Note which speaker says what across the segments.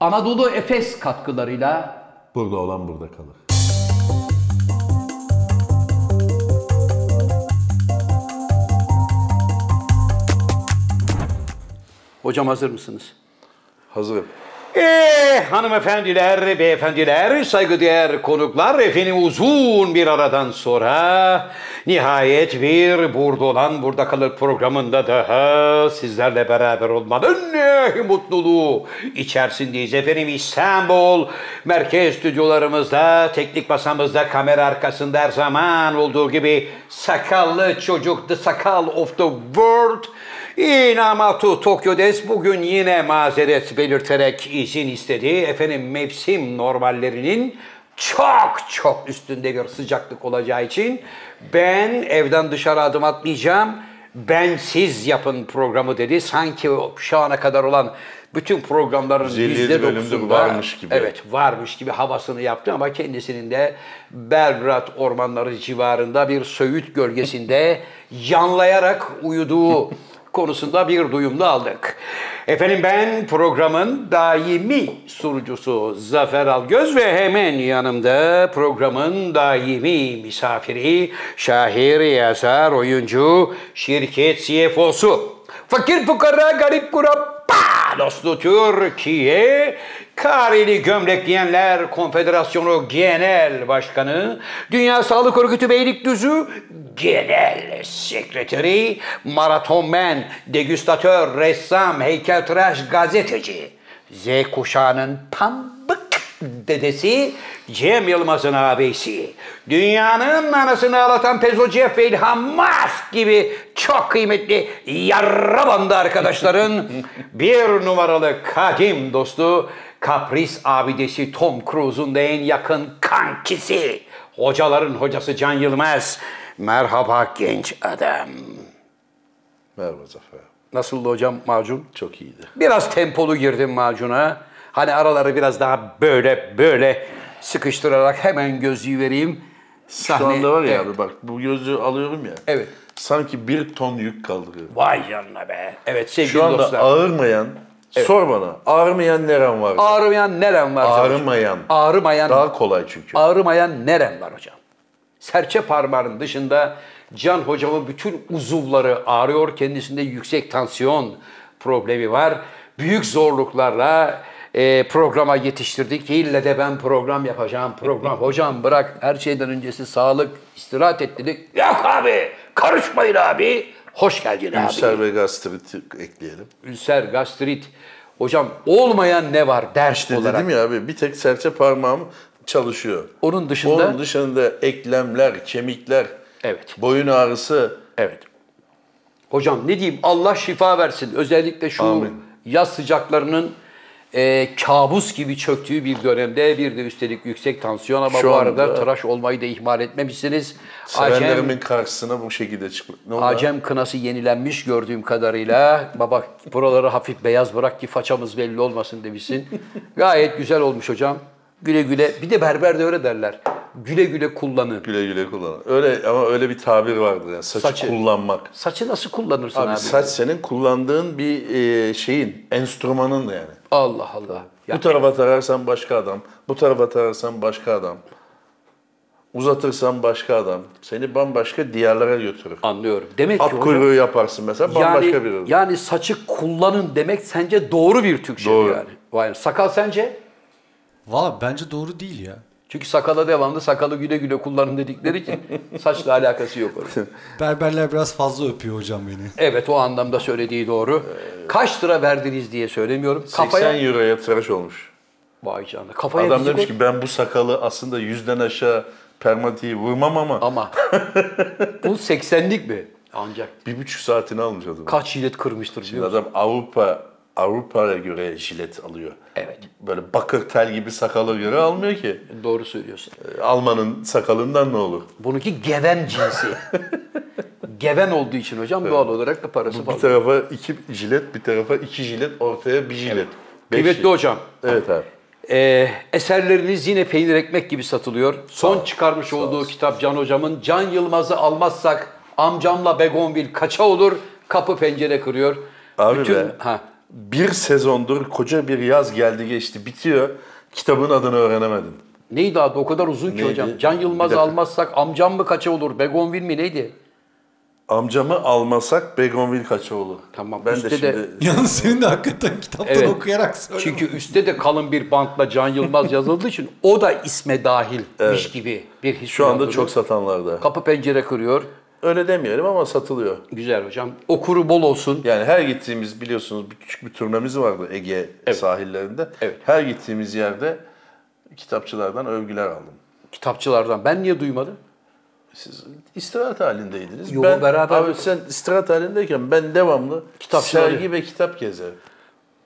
Speaker 1: Anadolu Efes katkılarıyla
Speaker 2: Burada olan burada kalır.
Speaker 1: Hocam hazır mısınız?
Speaker 2: Hazırım.
Speaker 3: Eee Eh, hanımefendiler, beyefendiler, saygıdeğer konuklar efendim uzun bir aradan sonra nihayet bir burada olan burada kalır programında daha sizlerle beraber olmanın eh, mutluluğu içerisindeyiz efendim İstanbul merkez stüdyolarımızda teknik masamızda kamera arkasında her zaman olduğu gibi sakallı çocuk the sakal of the world İnamatu Tokyo'des bugün yine mazeret belirterek izin istedi. Efendim mevsim normallerinin çok çok üstünde bir sıcaklık olacağı için ben evden dışarı adım atmayacağım. Ben siz yapın programı dedi. Sanki o şu ana kadar olan bütün programların
Speaker 2: 157
Speaker 3: yüzde
Speaker 2: bölümde bu
Speaker 3: dokuzunda-
Speaker 2: varmış gibi.
Speaker 3: Evet varmış gibi havasını yaptı ama kendisinin de Belgrad ormanları civarında bir söğüt gölgesinde yanlayarak uyuduğu konusunda bir duyumda aldık. Efendim ben programın daimi sunucusu Zafer Algöz ve hemen yanımda programın daimi misafiri, şair, yazar, oyuncu, şirket CFO'su. Fakir fukara garip kurabba Ah, dostu Türkiye Kareli Gömlek Giyenler Konfederasyonu Genel Başkanı, Dünya Sağlık Örgütü Beylikdüzü Genel Sekreteri, maratonmen, degüstatör, ressam, heykeltıraş, gazeteci, Z kuşağının pambık dedesi Cem Yılmaz'ın abisi. Dünyanın anasını ağlatan Pezo Jeff ve İlhan Musk gibi çok kıymetli yarra bandı arkadaşların bir numaralı kadim dostu Kapris abidesi Tom Cruise'un da en yakın kankisi. Hocaların hocası Can Yılmaz. Merhaba genç adam.
Speaker 2: Merhaba Zafer. abi.
Speaker 3: Nasıldı hocam macun?
Speaker 2: Çok iyiydi.
Speaker 3: Biraz tempolu girdim macuna. Hani araları biraz daha böyle böyle sıkıştırarak hemen gözlüğü vereyim. Sahne,
Speaker 2: Şu anda var ya
Speaker 3: Evet.
Speaker 2: abi bak bu gözlüğü alıyorum ya.
Speaker 3: Evet.
Speaker 2: Sanki bir ton yük kaldırıyor.
Speaker 3: Vay canına be. Evet sevgili
Speaker 2: Şu anda
Speaker 3: dostlar.
Speaker 2: ağırmayan, sor bana ağırmayan neren var?
Speaker 3: ağrımayan nerem var? hocam?
Speaker 2: Ağrımayan.
Speaker 3: Ağrımayan.
Speaker 2: Daha kolay çünkü.
Speaker 3: Ağrımayan nerem var hocam? Serçe parmağının dışında Can hocamın bütün uzuvları ağrıyor. Kendisinde yüksek tansiyon problemi var. Büyük zorluklarla e, programa yetiştirdik. İlle de ben program yapacağım. Program hocam bırak her şeyden öncesi sağlık, istirahat et dedik. Yok abi karışmayın abi. Hoş geldin abi.
Speaker 2: Ülser ve gastrit ekleyelim.
Speaker 3: Ülser, gastrit. Hocam olmayan ne var ders
Speaker 2: İşte
Speaker 3: olarak?
Speaker 2: dedim ya abi bir tek serçe parmağım çalışıyor.
Speaker 3: Onun dışında-
Speaker 2: Onun dışında eklemler, kemikler,
Speaker 3: Evet.
Speaker 2: boyun ağrısı.
Speaker 3: Evet. Hocam ne diyeyim Allah şifa versin. Özellikle şu
Speaker 2: Amin.
Speaker 3: yaz sıcaklarının e, kabus gibi çöktüğü bir dönemde bir de üstelik yüksek tansiyon ama
Speaker 2: Şu
Speaker 3: bu
Speaker 2: anda-
Speaker 3: arada tıraş olmayı da ihmal etmemişsiniz. Acem,
Speaker 2: Sevenlerimin karşısına bu şekilde çıkmak. Ne oldu?
Speaker 3: Acem kınası yenilenmiş gördüğüm kadarıyla. Baba buraları hafif beyaz bırak ki façamız belli olmasın demişsin. Gayet güzel olmuş hocam. Güle güle. Bir de berber de öyle derler. Güle güle kullanın.
Speaker 2: Güle güle kullan. Öyle ama öyle bir tabir vardır yani saçı,
Speaker 3: Saçı.
Speaker 2: kullanmak.
Speaker 3: Saçı nasıl kullanırsın abi?
Speaker 2: Abi, saç senin kullandığın bir e, şeyin, enstrümanın da yani.
Speaker 3: Allah Allah. Ya
Speaker 2: Bu tarafa tararsan başka adam, bu tarafa tararsan başka adam. Uzatırsan başka adam. Seni bambaşka diyarlara götürür.
Speaker 3: Anlıyorum. Demek ki
Speaker 2: At
Speaker 3: hocam,
Speaker 2: kuyruğu yaparsın mesela bambaşka
Speaker 3: yani,
Speaker 2: bir adam.
Speaker 3: yani saçı kullanın demek sence doğru bir Türkçe
Speaker 2: Doğru.
Speaker 3: yani. Vay, sakal sence?
Speaker 4: Valla bence doğru değil ya.
Speaker 3: Çünkü sakala devamlı sakalı güle güle kullanın dedikleri için saçla alakası yok onun.
Speaker 4: Berberler biraz fazla öpüyor hocam beni.
Speaker 3: Evet o anlamda söylediği doğru. Kaç lira verdiniz diye söylemiyorum.
Speaker 2: 80
Speaker 3: Kafaya
Speaker 2: euroya tıraş olmuş.
Speaker 3: Vay canına. Kafaya
Speaker 2: Adam
Speaker 3: fizik-
Speaker 2: demiş ki ben bu sakalı aslında yüzden aşağı permatiği vurmam ama
Speaker 3: ama bu 80'lik mi? Ancak
Speaker 2: bir buçuk saatini almış adam.
Speaker 3: kaç jilet kırmıştır biliyor musun?
Speaker 2: adam Avrupa Avrupa'ya göre jilet alıyor.
Speaker 3: Evet.
Speaker 2: Böyle bakır tel gibi sakala göre almıyor ki.
Speaker 3: Doğru söylüyorsun.
Speaker 2: E, Alman'ın sakalından ne olur?
Speaker 3: Bununki geven cinsi. geven olduğu için hocam doğal olarak da parası
Speaker 2: Bir
Speaker 3: fazla.
Speaker 2: tarafa iki jilet, bir tarafa iki jilet, ortaya bir jilet. Beş
Speaker 3: Kıymetli
Speaker 2: jilet.
Speaker 3: hocam.
Speaker 2: Evet abi.
Speaker 3: Ee, eserleriniz yine peynir ekmek gibi satılıyor. Son çıkarmış olduğu kitap Can Hocam'ın Can Yılmaz'ı almazsak amcamla Begonvil kaça olur kapı pencere kırıyor.
Speaker 2: Abi be.
Speaker 3: Ha,
Speaker 2: bir sezondur koca bir yaz geldi geçti bitiyor. Kitabın adını öğrenemedin.
Speaker 3: Neydi adı o kadar uzun ki
Speaker 2: Neydi?
Speaker 3: hocam. Can Yılmaz
Speaker 2: Bir dakika.
Speaker 3: almazsak amcam mı kaça olur? Begonvil mi neydi?
Speaker 2: Amcamı almasak Begonvil kaça olur?
Speaker 3: Tamam,
Speaker 2: Ben
Speaker 3: üstte
Speaker 2: de
Speaker 3: de-
Speaker 2: şimdi
Speaker 4: Yalnız senin de hakikaten kitaptan
Speaker 3: Evet.
Speaker 4: okuyarak söyle.
Speaker 3: Çünkü üstte de kalın bir bantla Can Yılmaz yazıldığı için o da isme dahilmiş gibi bir his.
Speaker 2: şu anda
Speaker 3: uyandırdı.
Speaker 2: çok satanlarda.
Speaker 3: kapı pencere kırıyor.
Speaker 2: Öyle demeyelim ama satılıyor.
Speaker 3: Güzel hocam. Okuru bol olsun.
Speaker 2: Yani her gittiğimiz biliyorsunuz bir küçük bir turnemiz vardı Ege sahillerinde.
Speaker 3: Evet.
Speaker 2: Her gittiğimiz yerde kitapçılardan övgüler aldım.
Speaker 3: Kitapçılardan ben niye duymadım?
Speaker 2: Siz istirahat halindeydiniz.
Speaker 3: Yo,
Speaker 2: ben
Speaker 3: beraber-
Speaker 2: abi sen istirahat halindeyken ben devamlı
Speaker 3: Kitapçıları-
Speaker 2: sergi ve kitap gezerim.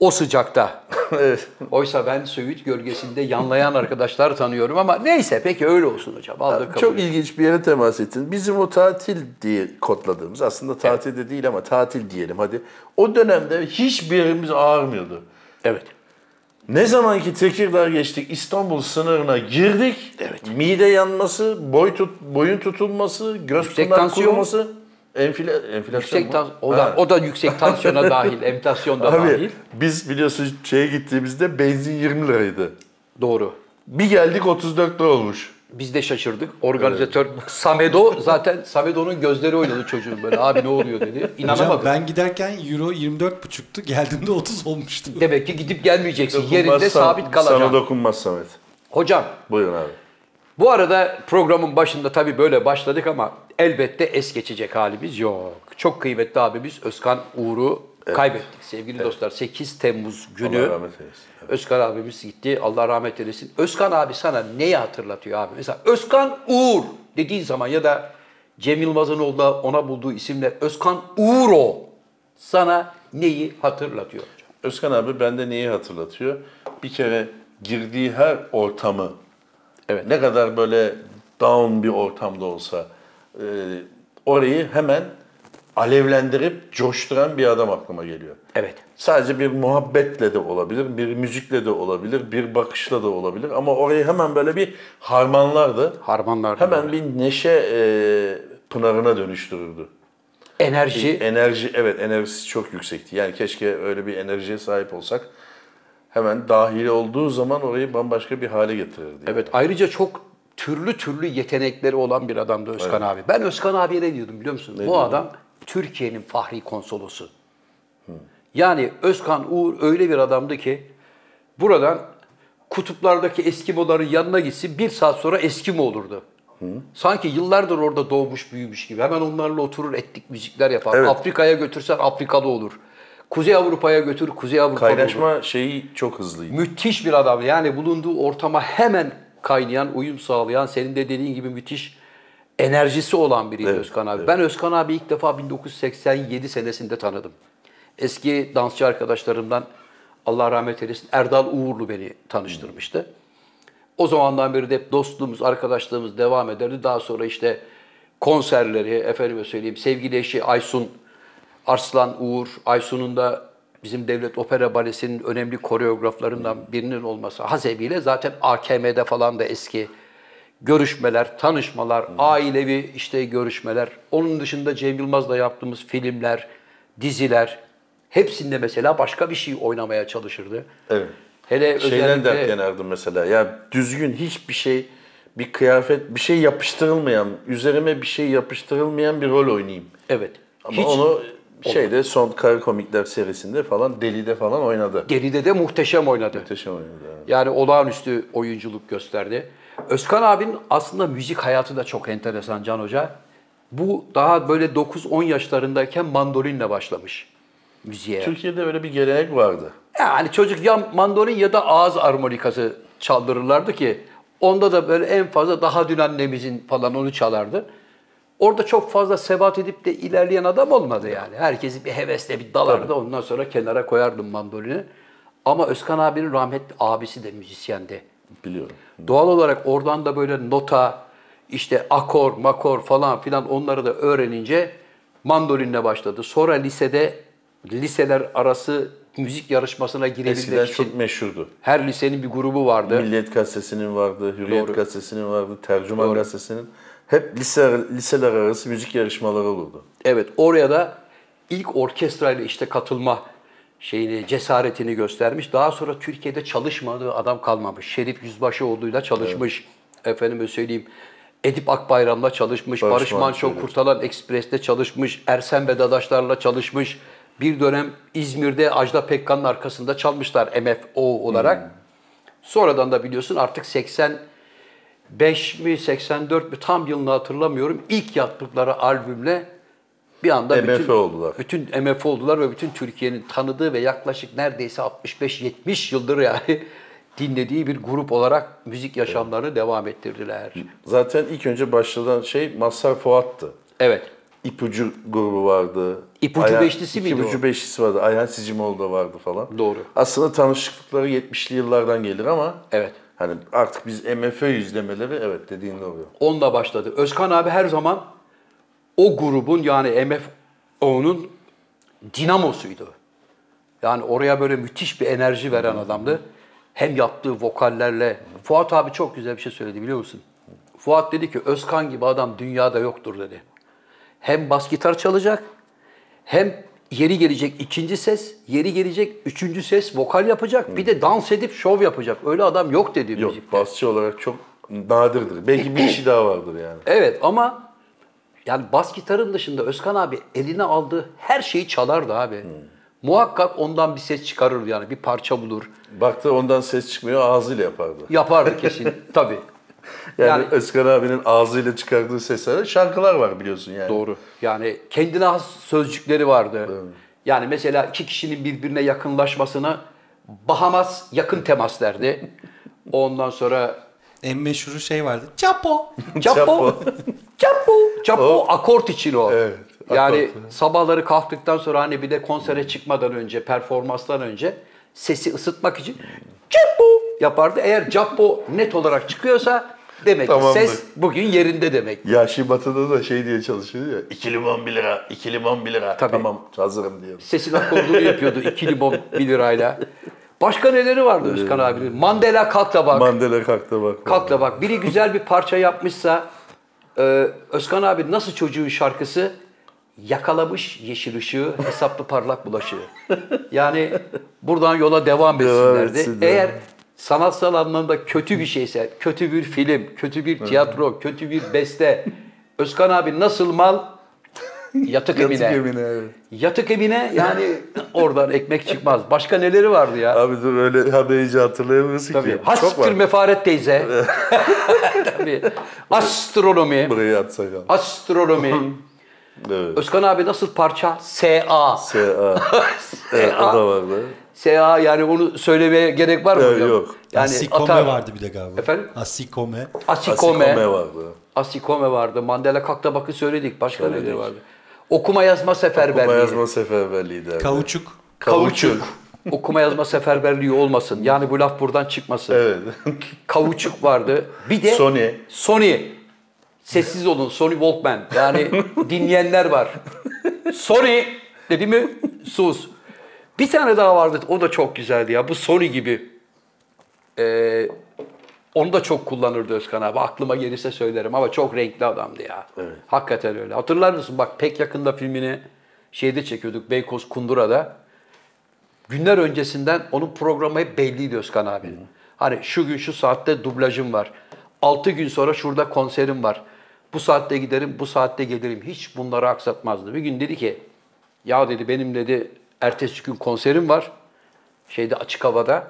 Speaker 3: O sıcakta.
Speaker 2: evet.
Speaker 3: Oysa ben Söğüt gölgesinde yanlayan arkadaşlar tanıyorum ama neyse peki öyle olsun hocam. Aldık kabul.
Speaker 2: Çok ilginç bir yere temas ettin. Bizim o tatil diye kodladığımız aslında tatil de değil ama tatil diyelim hadi. O dönemde hiçbir yerimiz ağrımıyordu.
Speaker 3: Evet.
Speaker 2: Ne zaman ki Tekirdağ geçtik, İstanbul sınırına girdik.
Speaker 3: Evet.
Speaker 2: Mide yanması, boy tut, boyun tutulması, göz
Speaker 3: Yüksek
Speaker 2: pınar
Speaker 3: tansiyon.
Speaker 2: kuruması, enfile- enflasyon
Speaker 3: Yüksek
Speaker 2: mu?
Speaker 3: tans- o,
Speaker 2: Ha.
Speaker 3: da, o da yüksek tansiyona dahil, enflasyon da
Speaker 2: Abi
Speaker 3: dahil.
Speaker 2: biz biliyorsun şeye gittiğimizde benzin 20 liraydı.
Speaker 3: Doğru.
Speaker 2: Bir geldik 34 lira olmuş.
Speaker 3: Biz de şaşırdık. Organizatör Samedo zaten Samedo'nun gözleri oynadı çocuğun böyle. Abi ne oluyor dedi.
Speaker 4: Hocam
Speaker 3: İnanamadım.
Speaker 4: ben giderken euro 24,5'tu. Geldiğimde 30 olmuştu.
Speaker 3: Demek ki gidip gelmeyeceksin. Yerinde
Speaker 2: Dokunmaz Sam-
Speaker 3: sabit
Speaker 2: Sana
Speaker 3: kalacaksın.
Speaker 2: dokunmaz Samet.
Speaker 3: Hocam
Speaker 2: Buyurun abi.
Speaker 3: bu arada programın başında tabii böyle başladık ama elbette es geçecek halimiz yok. Çok kıymetli abimiz Özkan Uğur'u kaybettik sevgili dostlar. 8 Temmuz günü
Speaker 2: Allah rahmet eylesin.
Speaker 3: Özkan abimiz gitti. Allah rahmet eylesin. Özkan abi sana neyi hatırlatıyor abi? Mesela Özkan Uğur dediğin zaman ya da Cem Yılmaz'ın oğlu da ona bulduğu isimler Özkan Uğur o. Sana neyi hatırlatıyor hocam?
Speaker 2: Özkan abi bende neyi hatırlatıyor? Bir kere girdiği her ortamı
Speaker 3: Evet.
Speaker 2: ne kadar böyle down bir ortamda olsa e, orayı hemen alevlendirip coşturan bir adam aklıma geliyor.
Speaker 3: Evet.
Speaker 2: Sadece bir muhabbetle de olabilir, bir müzikle de olabilir, bir bakışla da olabilir ama orayı hemen böyle bir harmanlardı.
Speaker 3: Harmanlar.
Speaker 2: Hemen bir neşe e, pınarına dönüştürürdü.
Speaker 3: enerji.
Speaker 2: Enerji evet enerjisi çok yüksekti. Yani keşke öyle bir enerjiye sahip olsak. Hemen dahil olduğu zaman orayı bambaşka bir hale getirirdi.
Speaker 3: Evet ayrıca çok türlü türlü yetenekleri olan bir adamdı Özkan abi. Ben Özkan abiye ne diyordum biliyor musun? Bu adam Türkiye'nin fahri konsolosu. Yani Özkan Uğur öyle bir adamdı ki buradan kutuplardaki Eskimoların yanına gitsin bir saat sonra Eskimo olurdu. Sanki yıllardır orada doğmuş büyümüş gibi. Hemen onlarla oturur ettik müzikler yapar.
Speaker 2: Evet.
Speaker 3: Afrika'ya götürsen Afrikalı olur. Kuzey Avrupa'ya götür Kuzey Avrupalı olur.
Speaker 2: Paylaşma şeyi çok hızlıydı.
Speaker 3: Müthiş bir adam. Yani bulunduğu ortama hemen kaynayan, uyum sağlayan, senin de dediğin gibi müthiş enerjisi olan biriydi Özkan abi. Ben Özkan abi ilk defa 1987 senesinde tanıdım. Eski dansçı arkadaşlarımdan Allah rahmet eylesin Erdal Uğurlu beni tanıştırmıştı. O zamandan beri de hep dostluğumuz, arkadaşlığımız devam ederdi. Daha sonra işte konserleri, efendime söyleyeyim sevgili eşi Aysun Arslan Uğur, Aysun'un da bizim Devlet Opera Balesi'nin önemli koreograflarından birinin olması hasebiyle zaten AKM'de falan da eski görüşmeler, tanışmalar, ailevi işte görüşmeler, onun dışında Cem Yılmaz'la yaptığımız filmler, diziler hepsinde mesela başka bir şey oynamaya çalışırdı.
Speaker 2: Evet.
Speaker 3: Hele
Speaker 2: Şeyden
Speaker 3: özellikle-
Speaker 2: dert yanardım mesela. Ya düzgün hiçbir şey, bir kıyafet, bir şey yapıştırılmayan, üzerime bir şey yapıştırılmayan bir rol oynayayım.
Speaker 3: Evet.
Speaker 2: Ama
Speaker 3: Hiç-
Speaker 2: onu şeyde son kar komikler serisinde falan Deli'de falan oynadı.
Speaker 3: Geride de muhteşem oynadı.
Speaker 2: Muhteşem oynadı. evet.
Speaker 3: Yani olağanüstü oyunculuk gösterdi. Özkan abinin aslında müzik hayatı da çok enteresan Can Hoca. Bu daha böyle 9-10 yaşlarındayken mandolinle başlamış müziğe.
Speaker 2: Türkiye'de öyle bir gelenek vardı.
Speaker 3: Yani çocuk ya mandolin ya da ağız armonikası çaldırırlardı ki onda da böyle en fazla daha dün annemizin falan onu çalardı. Orada çok fazla sebat edip de ilerleyen adam olmadı yani. Herkesi bir hevesle bir dalardı ondan sonra kenara koyardım mandolini. Ama Özkan abinin rahmetli abisi de müzisyendi.
Speaker 2: Biliyorum.
Speaker 3: Doğal olarak oradan da böyle nota, işte akor, makor falan filan onları da öğrenince mandolinle başladı. Sonra lisede liseler arası müzik yarışmasına
Speaker 2: Eskiden
Speaker 3: girebilmek için
Speaker 2: çok meşhurdu.
Speaker 3: her lisenin bir grubu vardı.
Speaker 2: Milliyet Gazetesi'nin vardı, Hürriyet
Speaker 3: Doğru.
Speaker 2: Gazetesi'nin vardı, Tercüman Gazetesi'nin. Hep lise, liseler arası müzik yarışmaları olurdu.
Speaker 3: Evet oraya da ilk orkestrayla işte katılma şeyini cesaretini göstermiş. Daha sonra Türkiye'de çalışmadığı adam kalmamış. Şerif Yüzbaşıoğlu'yla çalışmış. Efendime söyleyeyim. Edip Akbayram'la çalışmış,
Speaker 2: Barış
Speaker 3: Barış,
Speaker 2: Manço'yla.
Speaker 3: Manço Kurtalan Ekspres'te çalışmış, Ersen ve Dadaşlar'la çalışmış. Bir dönem İzmir'de Ajda Pekkan'ın arkasında çalmışlar MFO olarak. Sonradan da biliyorsun artık 85 mi 84 mü tam yılını hatırlamıyorum. İlk yaptıkları albümle bir anda bütün,
Speaker 2: MFO oldular.
Speaker 3: bütün MFO oldular ve bütün Türkiye'nin tanıdığı ve yaklaşık neredeyse 65-70 yıldır yani dinlediği bir grup olarak müzik yaşamlarını devam ettirdiler.
Speaker 2: Zaten ilk önce başladan şey Mazhar Fuat'tı.
Speaker 3: Evet.
Speaker 2: İpucu grubu vardı.
Speaker 3: İpucu beşlisi miydi
Speaker 2: İpucu
Speaker 3: o?
Speaker 2: beşlisi vardı. Ayhan Sicimoğlu da vardı falan.
Speaker 3: Doğru.
Speaker 2: Aslında tanışıklıkları 70'li yıllardan gelir ama
Speaker 3: Evet.
Speaker 2: hani artık biz MFÖ izlemeleri evet dediğin oluyor.
Speaker 3: Onunla başladı. Özkan abi her zaman o grubun yani MFO'nun dinamosuydu. Yani oraya böyle müthiş bir enerji veren adamdı. Hem yaptığı vokallerle. Fuat abi çok güzel bir şey söyledi biliyor musun? Fuat dedi ki Özkan gibi adam dünyada yoktur dedi. Hem bas gitar çalacak hem yeri gelecek ikinci ses, yeri gelecek üçüncü ses vokal yapacak. Bir de dans edip şov yapacak. Öyle adam yok dedi
Speaker 2: Yok
Speaker 3: müzikte.
Speaker 2: basçı olarak çok nadirdir. Belki bir kişi daha vardır yani.
Speaker 3: Evet ama yani bas gitarın dışında Özkan abi eline aldığı her şeyi çalardı abi. Muhakkak ondan bir ses çıkarırdı yani bir parça bulur.
Speaker 2: Baktı ondan ses çıkmıyor ağzıyla yapardı.
Speaker 3: Yapardı kesin tabii.
Speaker 2: Yani,
Speaker 3: Yani-
Speaker 2: Özkan abinin ağzıyla çıkardığı seslerde şarkılar var biliyorsun yani.
Speaker 3: Doğru. Yani kendine has sözcükleri vardı. Yani mesela iki kişinin birbirine yakınlaşmasına Bahamas yakın temas derdi. Ondan sonra
Speaker 4: En meşhuru şey vardı. Çapo.
Speaker 3: Çapo.
Speaker 2: Çapo.
Speaker 3: Çapo. Çapo akort için o.
Speaker 2: Evet, akort.
Speaker 3: Yani sabahları kalktıktan sonra hani bir de konsere çıkmadan önce, performanstan önce sesi ısıtmak için Çapo yapardı. Eğer Çapo net olarak çıkıyorsa demek ki
Speaker 2: Tamamdır.
Speaker 3: ses bugün yerinde demek.
Speaker 2: Yaşı Batı'da da şey diye çalışıyor ya. İki limon bir lira, iki limon bir lira.
Speaker 3: Tabii.
Speaker 2: Tamam hazırım diyor.
Speaker 3: Sesin akorduğunu yapıyordu ikili bom 1 lirayla. Başka neleri vardı Özkan abinin? Mandela kalk da bak.
Speaker 2: Mandela kalktı bak.
Speaker 3: Kalk da bak. Biri güzel bir parça yapmışsa e, Özkan abi nasıl çocuğun şarkısı yakalamış yeşil ışığı, hesaplı parlak bulaşığı. Yani buradan yola devam
Speaker 2: Devam
Speaker 3: etsinlerdi.
Speaker 2: etsinler.
Speaker 3: Eğer sanatsal anlamda kötü bir şeyse, kötü bir film, kötü bir tiyatro, kötü bir beste. Özkan abi nasıl mal? Yatık
Speaker 2: Yatık
Speaker 3: emine.
Speaker 2: Emine, evet.
Speaker 3: Yatık emine yani oradan ekmek çıkmaz. Başka neleri vardı ya?
Speaker 2: Abi dur öyle haberici hatırlayamıyorsun
Speaker 3: Tabii.
Speaker 2: ki. Çok
Speaker 3: Hastir
Speaker 2: var.
Speaker 3: mefaret teyze. Tabii. Astronomi.
Speaker 2: Buraya atsak abi.
Speaker 3: Astronomi.
Speaker 2: Evet.
Speaker 3: Özkan abi nasıl parça? SA.
Speaker 2: S.A. Evet, o da vardı.
Speaker 3: SA yani onu söylemeye gerek var mı?
Speaker 2: Evet,
Speaker 3: hocam?
Speaker 2: yok.
Speaker 4: Yani
Speaker 3: Yani
Speaker 4: Asikome
Speaker 3: atar.
Speaker 4: vardı bir de galiba.
Speaker 3: Efendim?
Speaker 4: Asikome.
Speaker 2: Asikome
Speaker 3: Asikome.
Speaker 2: vardı.
Speaker 3: Asikome vardı. Mandela Kakta Bak'ı söyledik. Başka neleri vardı? Okuma yazma seferberliği.
Speaker 2: Kuma yazma seferberliği derdi.
Speaker 4: Kavuçuk.
Speaker 2: Kavuçuk.
Speaker 3: Okuma yazma seferberliği olmasın. Yani bu laf buradan çıkmasın.
Speaker 2: Evet.
Speaker 3: Kavuçuk vardı. Bir de
Speaker 2: Sony.
Speaker 3: Sony. Sessiz olun Sony Walkman. Yani dinleyenler var. Sony dedi mi sus. Bir tane daha vardı. O da çok güzeldi ya. Bu Sony gibi. Ee, onu da çok kullanırdı Özkan abi. Aklıma gelirse söylerim ama çok renkli adamdı ya. Hakikaten öyle. Hatırlar mısın? Bak pek yakında filmini şeyde çekiyorduk Beykoz Kundura'da. Günler öncesinden onun programı hep belliydi Özkan abinin. Hani şu gün şu saatte dublajım var. 6 gün sonra şurada konserim var. Bu saatte giderim, bu saatte gelirim. Hiç bunları aksatmazdı. Bir gün dedi ki, ya dedi benim dedi ertesi gün konserim var. Şeyde açık havada.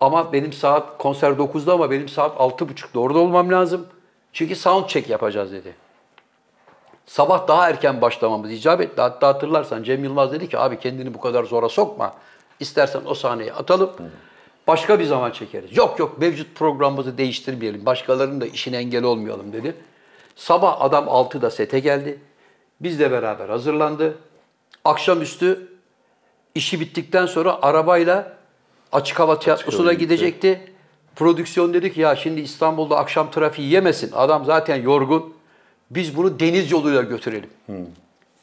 Speaker 3: Ama benim saat konser 9'da ama benim saat 6.30'da orada olmam lazım. Çünkü sound check yapacağız dedi. Sabah daha erken başlamamız icap etti. Hatta hatırlarsan Cem Yılmaz dedi ki abi kendini bu kadar zora sokma. İstersen o sahneyi atalım. Başka bir zaman çekeriz. Yok yok mevcut programımızı değiştirmeyelim. Başkalarının da işine engel olmayalım dedi. Sabah adam 6'da sete geldi. Biz de beraber hazırlandı. Akşamüstü işi bittikten sonra arabayla açık hava tiyatrosuna
Speaker 2: havaya gitti.
Speaker 3: gidecekti. Prodüksiyon dedi ki ya şimdi İstanbul'da akşam trafiği yemesin. Adam zaten yorgun. Biz bunu deniz yoluyla götürelim.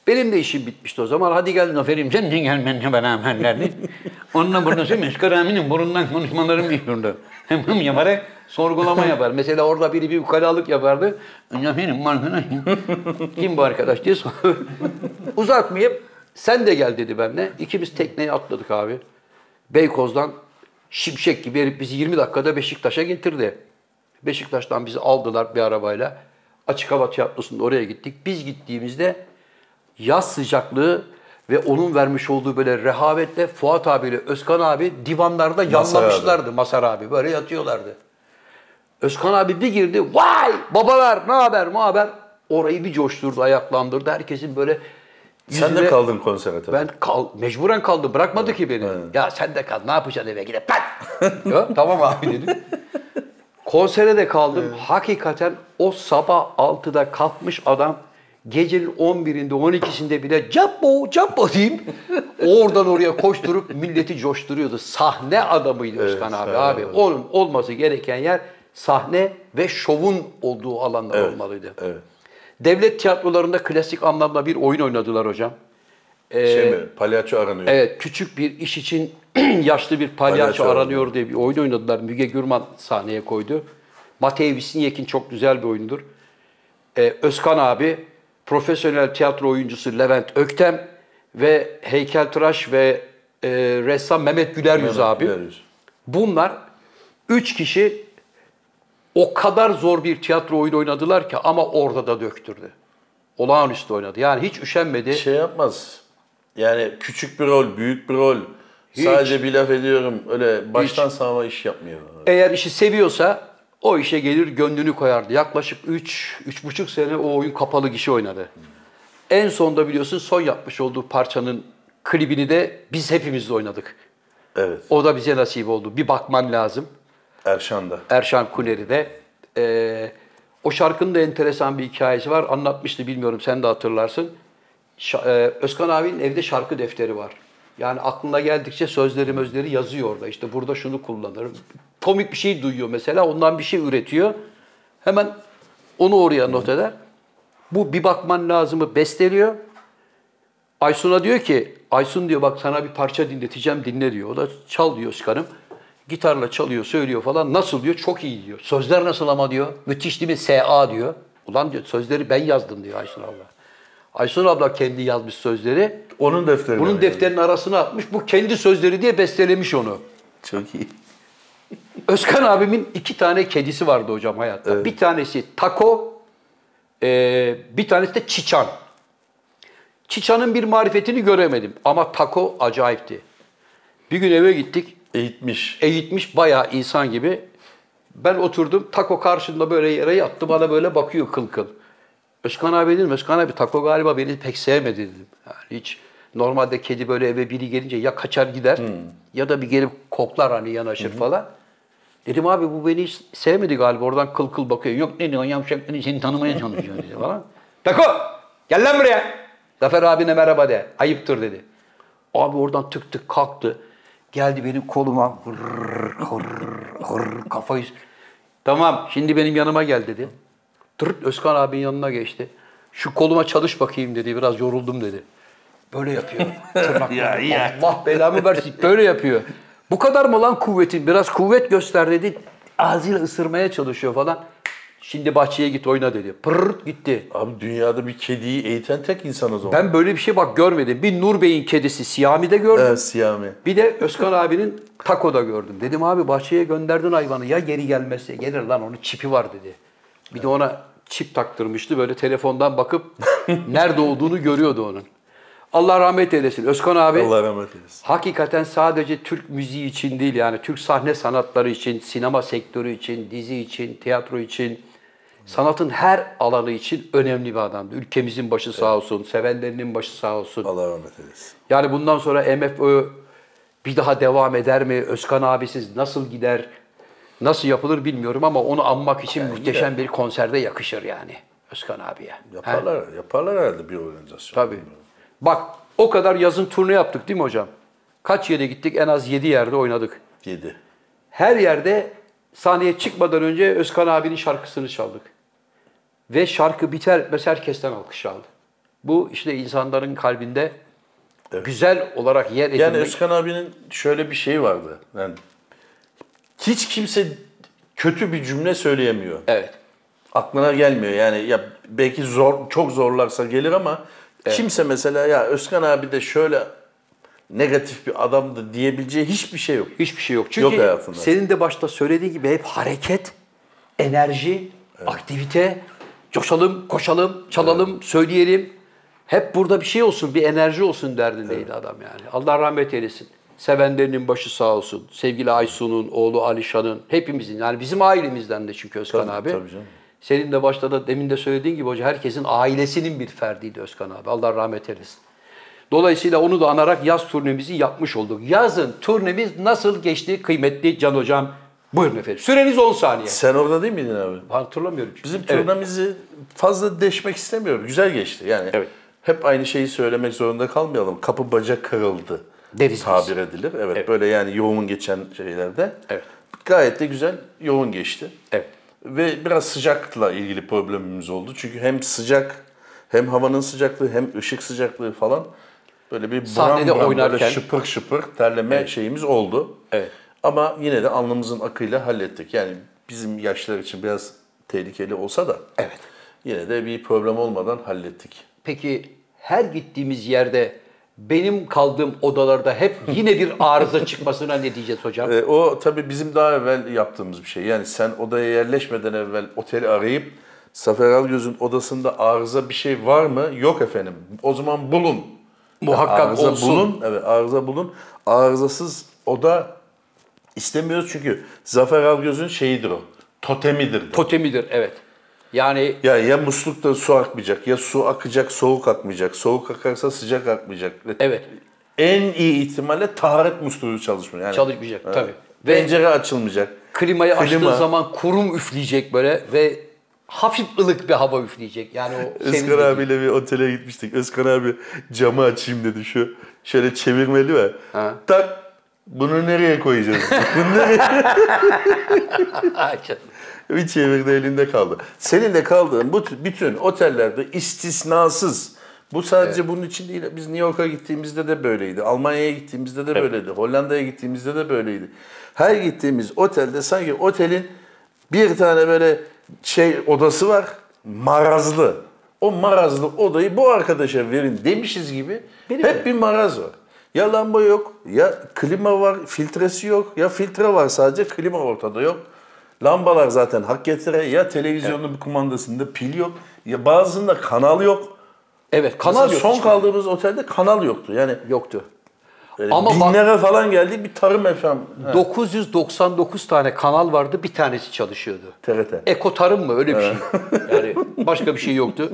Speaker 3: Benim de işim bitmişti o zaman. Hadi gel Zafer'im sen de gel benimle beraber derdi. Onunla burası Meşkar abinin burundan konuşmalarım yapıyordu. Hem hım yaparak sorgulama yapar. Mesela orada biri bir ukalalık yapardı. Zafer'im arkadaşım kim bu arkadaş diye sor- Uzatmayıp Sen de gel dedi benimle. İkimiz tekneye atladık abi. Beykoz'dan şimşek gibi herif bizi 20 dakikada Beşiktaş'a getirdi. Beşiktaş'tan bizi aldılar bir arabayla. Açık hava tiyatrosunda oraya gittik. Biz gittiğimizde yaz sıcaklığı ve onun vermiş olduğu böyle rehavetle Fuat abiyle Özkan abi divanlarda yanlamışlardı Masar abi. Böyle yatıyorlardı. Özkan abi bir girdi. Vay babalar ne haber ne haber. Orayı bir coşturdu, ayaklandırdı. Herkesin böyle
Speaker 2: Sen de
Speaker 3: yüzüne-
Speaker 2: kaldın konsere tabii.
Speaker 3: ben kal, mecburen kaldım. Bırakmadı ki beni. Ya sen de kal. Ne yapacaksın eve gidip pat. ya, tamam abi dedim. Konsere de kaldım. Hakikaten o sabah 6'da kalkmış adam gecenin 11'inde 12'sinde bile capbo capbo diyeyim. oradan oraya koşturup milleti coşturuyordu. Sahne adamıydı Özkan abi
Speaker 2: sahne
Speaker 3: abi.
Speaker 2: adamı.
Speaker 3: Onun olması gereken yer sahne ve şovun olduğu alanlar
Speaker 2: Evet,
Speaker 3: olmalıydı.
Speaker 2: evet.
Speaker 3: Devlet tiyatrolarında klasik anlamda bir oyun oynadılar hocam. Ee,
Speaker 2: Şey mi? Palyaço aranıyor.
Speaker 3: Evet, küçük bir iş için yaşlı bir palyaço
Speaker 2: Palyaço
Speaker 3: aranıyor diye bir oyun oynadılar. Müge Gürman sahneye koydu. Matei Visinyekin çok güzel bir oyundur. Ee, Özkan abi, profesyonel tiyatro oyuncusu Levent Öktem ve heykeltıraş ve e, ressam Mehmet Güler Yüz
Speaker 2: Mehmet
Speaker 3: abi.
Speaker 2: Güler Yüz.
Speaker 3: Bunlar üç kişi o kadar zor bir tiyatro oyunu oynadılar ki ama orada da döktürdü. Olağanüstü oynadı. Yani hiç üşenmedi.
Speaker 2: Şey yapmaz. Yani küçük bir rol, büyük bir rol. Sadece bir laf ediyorum. Öyle baştan sağma iş yapmıyor.
Speaker 3: Eğer işi seviyorsa o işe gelir gönlünü koyardı. Yaklaşık 3 3,5 sene o oyun kapalı gişe oynadı. En sonda biliyorsun son yapmış olduğu parçanın klibini de biz hepimiz de oynadık.
Speaker 2: Evet.
Speaker 3: O da bize nasip oldu. Bir bakman lazım.
Speaker 2: Erşan'da.
Speaker 3: Erşan Kuneri de. Ee, o şarkının da enteresan bir hikayesi var. Anlatmıştı bilmiyorum sen de hatırlarsın. Şa- e, Özkan abinin evde şarkı defteri var. Yani aklına geldikçe sözleri mözleri yazıyor orada. İşte burada şunu kullanır. Komik bir şey duyuyor mesela. Ondan bir şey üretiyor. Hemen onu oraya not eder. Bu bir bakman lazımı besteliyor. Aysun'a diyor ki, Aysun diyor bak sana bir parça dinleteceğim dinle diyor. O da çal diyor Özkan'ım. Gitarla çalıyor, söylüyor falan. Nasıl diyor? Çok iyi diyor. Sözler nasıl ama diyor. Müthiş değil mi? S.A. diyor. Ulan diyor sözleri ben yazdım diyor Aysun abla. Aysun abla kendi yazmış sözleri.
Speaker 2: Onun defteri.
Speaker 3: Bunun defterinin arasına atmış. Bu kendi sözleri diye bestelemiş onu.
Speaker 2: Çok iyi.
Speaker 3: Özkan abimin iki tane kedisi vardı hocam hayatta. Bir tanesi Tako, eee, bir tanesi de Çiçan. Çiçan'ın bir marifetini göremedim ama Tako acayipti. Bir gün eve gittik,
Speaker 2: Eğitmiş.
Speaker 3: eğitmiş bayağı insan gibi. Ben oturdum, Tako karşımda böyle yere yattı, bana böyle bakıyor kıl kıl. Özkan abi dedim, Özkan abi Tako galiba beni pek sevmedi dedim. Yani hiç normalde kedi böyle eve biri gelince ya kaçar gider ya da bir gelip koklar hani yanaşır falan. Dedim abi bu beni hiç sevmedi galiba. Oradan kıl kıl bakıyor. Yok ne diyorsun yavşak ne seni tanımaya çalışıyor dedi falan. Tako gel lan buraya. Zafer abine merhaba de. Ayıptır dedi. Abi oradan tık tık kalktı. Geldi benim koluma. Hırr, hırr, hırr, kafayı. Tamam şimdi benim yanıma gel dedi. Tırt Özkan abinin yanına geçti. Şu koluma çalış bakayım dedi. Biraz yoruldum dedi. Böyle yapıyor. Tırnakları. Allah belamı versin. Böyle yapıyor. Bu kadar mı lan kuvvetin? Biraz kuvvet göster dedi. Ağzıyla ısırmaya çalışıyor falan. Şimdi bahçeye git oyna dedi. Pırrt gitti.
Speaker 2: Abi dünyada bir kediyi eğiten tek insan o zaman.
Speaker 3: Ben böyle bir şey bak görmedim. Bir Nur Bey'in kedisi Siyami'de gördüm.
Speaker 2: Evet, Ee, Siyami.
Speaker 3: Bir de Özkan abinin takoda gördüm. Dedim abi bahçeye gönderdin hayvanı ya geri gelmezse gelir lan onun çipi var dedi. Bir de ona çip taktırmıştı böyle telefondan bakıp nerede olduğunu görüyordu onun. Allah rahmet eylesin Özkan abi.
Speaker 2: Allah rahmet eylesin.
Speaker 3: Hakikaten sadece Türk müziği için değil yani Türk sahne sanatları için, sinema sektörü için, dizi için, tiyatro için, sanatın her alanı için önemli bir adamdı. Ülkemizin başı sağ olsun, sevenlerinin başı sağ olsun.
Speaker 2: Allah rahmet eylesin.
Speaker 3: Yani bundan sonra MFÖ bir daha devam eder mi? Özkan abisiz nasıl gider? Nasıl yapılır bilmiyorum ama onu anmak için muhteşem bir konserde yakışır yani Özkan abiye. He?
Speaker 2: Yaparlar, yaparlar herhalde bir organizasyon.
Speaker 3: Tabii. Bak o kadar yazın turne yaptık değil mi hocam? Kaç yere gittik? En az 7 yerde oynadık.
Speaker 2: Yedi.
Speaker 3: Her yerde sahneye çıkmadan önce Özkan abinin şarkısını çaldık. Ve şarkı biter etmez herkesten alkış aldı. Bu işte insanların kalbinde güzel olarak yer edinmek.
Speaker 2: Yani Özkan abinin şöyle bir şeyi vardı. Yani hiç kimse kötü bir cümle söyleyemiyor.
Speaker 3: Evet.
Speaker 2: Aklına gelmiyor. Yani ya belki zor çok zorlarsa gelir ama Kimse mesela ya Özkan abi de şöyle negatif bir adamdı diyebileceği hiçbir şey yok.
Speaker 3: Hiçbir şey yok.
Speaker 2: Yok
Speaker 3: Çünkü
Speaker 2: hayatında.
Speaker 3: senin de başta söylediği gibi hep hareket, enerji, aktivite, coşalım, koşalım, çalalım, söyleyelim. Hep burada bir şey olsun, bir enerji olsun derdindeydi adam yani. Allah rahmet eylesin. Sevenlerinin başı sağ olsun. Sevgili Aysu'nun, oğlu Alişan'ın, hepimizin. Yani bizim ailemizden de çünkü Özkan
Speaker 2: Tabii,
Speaker 3: abi.
Speaker 2: tabii canım.
Speaker 3: Senin de başta da demin de söylediğin gibi hoca herkesin ailesinin bir ferdiydi Özkan abi. Allah rahmet eylesin. Dolayısıyla onu da anarak yaz turnemizi yapmış olduk. Yazın turnemiz nasıl geçti kıymetli Can Hocam? Buyurun efendim. Süreniz 10 saniye.
Speaker 2: Sen orada değil miydin abi?
Speaker 3: Hatırlamıyorum çünkü.
Speaker 2: Bizim
Speaker 3: Evet.
Speaker 2: turnamızı fazla deşmek istemiyorum. Güzel geçti yani.
Speaker 3: Evet.
Speaker 2: Hep aynı şeyi söylemek zorunda kalmayalım. Kapı bacak kırıldı.
Speaker 3: Deriz biz.
Speaker 2: Tabir edilir. Evet,
Speaker 3: Evet.
Speaker 2: böyle yani yoğun geçen şeylerde.
Speaker 3: Evet.
Speaker 2: Gayet de güzel yoğun geçti.
Speaker 3: Evet.
Speaker 2: Ve biraz sıcakla ilgili problemimiz oldu. Çünkü hem sıcak hem havanın sıcaklığı hem ışık sıcaklığı falan böyle bir buram
Speaker 3: Sahnede
Speaker 2: buram
Speaker 3: oynarken-
Speaker 2: böyle şıpır şıpır terleme şeyimiz oldu.
Speaker 3: Evet.
Speaker 2: Ama yine de alnımızın akıyla hallettik. Yani bizim yaşlar için biraz tehlikeli olsa da
Speaker 3: Evet.
Speaker 2: yine de bir problem olmadan hallettik.
Speaker 3: Peki her gittiğimiz yerde benim kaldığım odalarda hep yine bir arıza çıkmasına ne diyeceğiz hocam?
Speaker 2: Ee, o tabii bizim daha evvel yaptığımız bir şey. Yani sen odaya yerleşmeden evvel oteli arayıp Zafer Algöz'ün odasında arıza bir şey var mı? Yok efendim. O zaman bulun.
Speaker 3: Muhakkak
Speaker 2: arıza
Speaker 3: olsun.
Speaker 2: bulun. Evet, arıza bulun. Arızasız oda istemiyoruz çünkü Zafer Algöz'ün şeyidir o. Totemidir. de.
Speaker 3: Totemidir evet. Yani
Speaker 2: Ya ya muslukta su akmayacak, ya su akacak, soğuk akmayacak. Soğuk akarsa sıcak akmayacak.
Speaker 3: Evet.
Speaker 2: En iyi ihtimalle taharet musluğu çalışmıyor. Yani,
Speaker 3: Çalışmayacak, tabii. Ve-
Speaker 2: Pencere açılmayacak.
Speaker 3: klimayı
Speaker 2: Klima.
Speaker 3: açtığın zaman kurum üfleyecek böyle ve hafif ılık bir hava üfleyecek. Yani o senin
Speaker 2: Özkan
Speaker 3: dediğin-
Speaker 2: abiyle bir otele gitmiştik. Özkan abi camı açayım dedi şu. Şöyle çevirmeli ve
Speaker 3: Ha.
Speaker 2: tak bunu nereye koyacağız?
Speaker 3: Ay canım.
Speaker 2: bir çevirdi elinde kaldı. Senin de kaldığın bu tü- bütün otellerde istisnasız bu sadece bunun için değil. Biz New York'a gittiğimizde de böyleydi. Almanya'ya gittiğimizde de böyleydi. Hollanda'ya gittiğimizde de böyleydi. Her gittiğimiz otelde sanki otelin bir tane böyle şey odası var. Marazlı. O marazlı odayı bu arkadaşa verin demişiz gibi
Speaker 3: Benim
Speaker 2: hep bir maraz var. Ya lamba yok, ya klima var, filtresi yok, ya filtre var sadece klima ortada yok. Lambalar zaten hak getire. Ya televizyonun bir kumandasında pil yok. Ya bazısında kanal yok.
Speaker 3: Evet
Speaker 2: Kanal
Speaker 3: kanal yok.
Speaker 2: Son kaldığımız otelde kanal yoktu. Yani
Speaker 3: Yoktu.
Speaker 2: böyle
Speaker 3: Ama bak-
Speaker 2: binlere falan geldi bir tarım efendim. Ha,
Speaker 3: 999 tane kanal vardı bir tanesi çalışıyordu.
Speaker 2: TRT.
Speaker 3: Eko tarım mı öyle bir şey. Yani başka bir şey yoktu.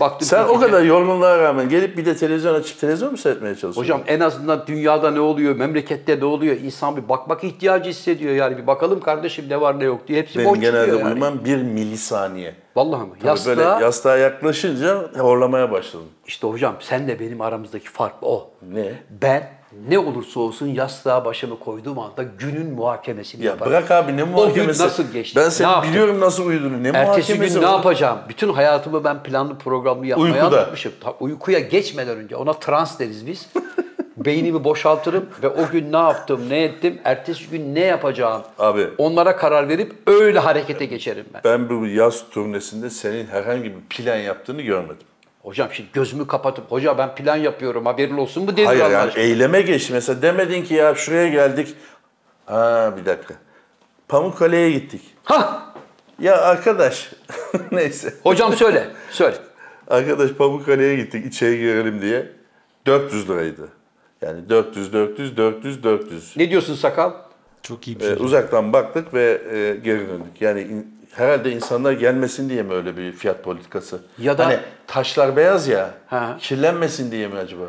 Speaker 3: Baktım
Speaker 2: Sen o
Speaker 3: gece-
Speaker 2: kadar yorgunluğa rağmen gelip bir de televizyon açıp televizyon mu seyretmeye çalışıyorsun?
Speaker 3: Hocam en azından dünyada ne oluyor, memlekette ne oluyor insan bir bakmak ihtiyacı hissediyor yani bir bakalım kardeşim ne var ne yok diye hepsi
Speaker 2: benim
Speaker 3: boş çıkıyor
Speaker 2: genelde
Speaker 3: yani.
Speaker 2: uyumam bir milisaniye.
Speaker 3: Vallahi mı?
Speaker 2: Tabii
Speaker 3: Yastığa,
Speaker 2: Böyle yastığa yaklaşınca horlamaya başladım.
Speaker 3: işte hocam senle benim aramızdaki fark o.
Speaker 2: Ne?
Speaker 3: Ben ne olursa olsun yastığa başımı koyduğum anda günün muhakemesini
Speaker 2: Ya
Speaker 3: yaparım.
Speaker 2: bırak abi ne muhakemesi.
Speaker 3: O gün nasıl geçti?
Speaker 2: Ben
Speaker 3: Ne
Speaker 2: seni
Speaker 3: yaptım?
Speaker 2: biliyorum nasıl uyuduğunu. Ne
Speaker 3: Ertesi gün
Speaker 2: muhakemesi
Speaker 3: ne
Speaker 2: var?
Speaker 3: yapacağım? Bütün hayatımı ben planlı programlı yapmaya
Speaker 2: Uykuda.
Speaker 3: anlatmışım. Ta- Uykuya geçmeden önce ona trans deriz biz. Beynimi boşaltırım ve o gün ne yaptım, ne ettim, ertesi gün ne yapacağım
Speaker 2: Abi.
Speaker 3: onlara karar verip öyle harekete geçerim ben.
Speaker 2: Ben bu yaz turnesinde senin herhangi bir plan yaptığını görmedim.
Speaker 3: Hocam şimdi gözümü kapatıp, hoca ben plan yapıyorum haberin olsun mu dedim
Speaker 2: Hayır
Speaker 3: Allah
Speaker 2: yani
Speaker 3: aşkına.
Speaker 2: eyleme geçti. Mesela demedin ki ya şuraya geldik. Ha bir dakika. Pamukkale'ye gittik.
Speaker 3: Hah!
Speaker 2: Ya arkadaş neyse.
Speaker 3: Hocam söyle, söyle.
Speaker 2: Arkadaş Pamukkale'ye gittik içeri girelim diye. 400 liraydı. Yani 400, 400, 400, 400.
Speaker 3: Ne diyorsun sakal?
Speaker 4: Çok iyi bir şey.
Speaker 2: Ee, uzaktan baktık ve e, geri döndük. Yani in- herhalde insanlar gelmesin diye mi öyle bir fiyat politikası?
Speaker 3: Ya da-
Speaker 2: Hani taşlar beyaz ya.
Speaker 3: Ha.
Speaker 2: Kirlenmesin diye mi acaba?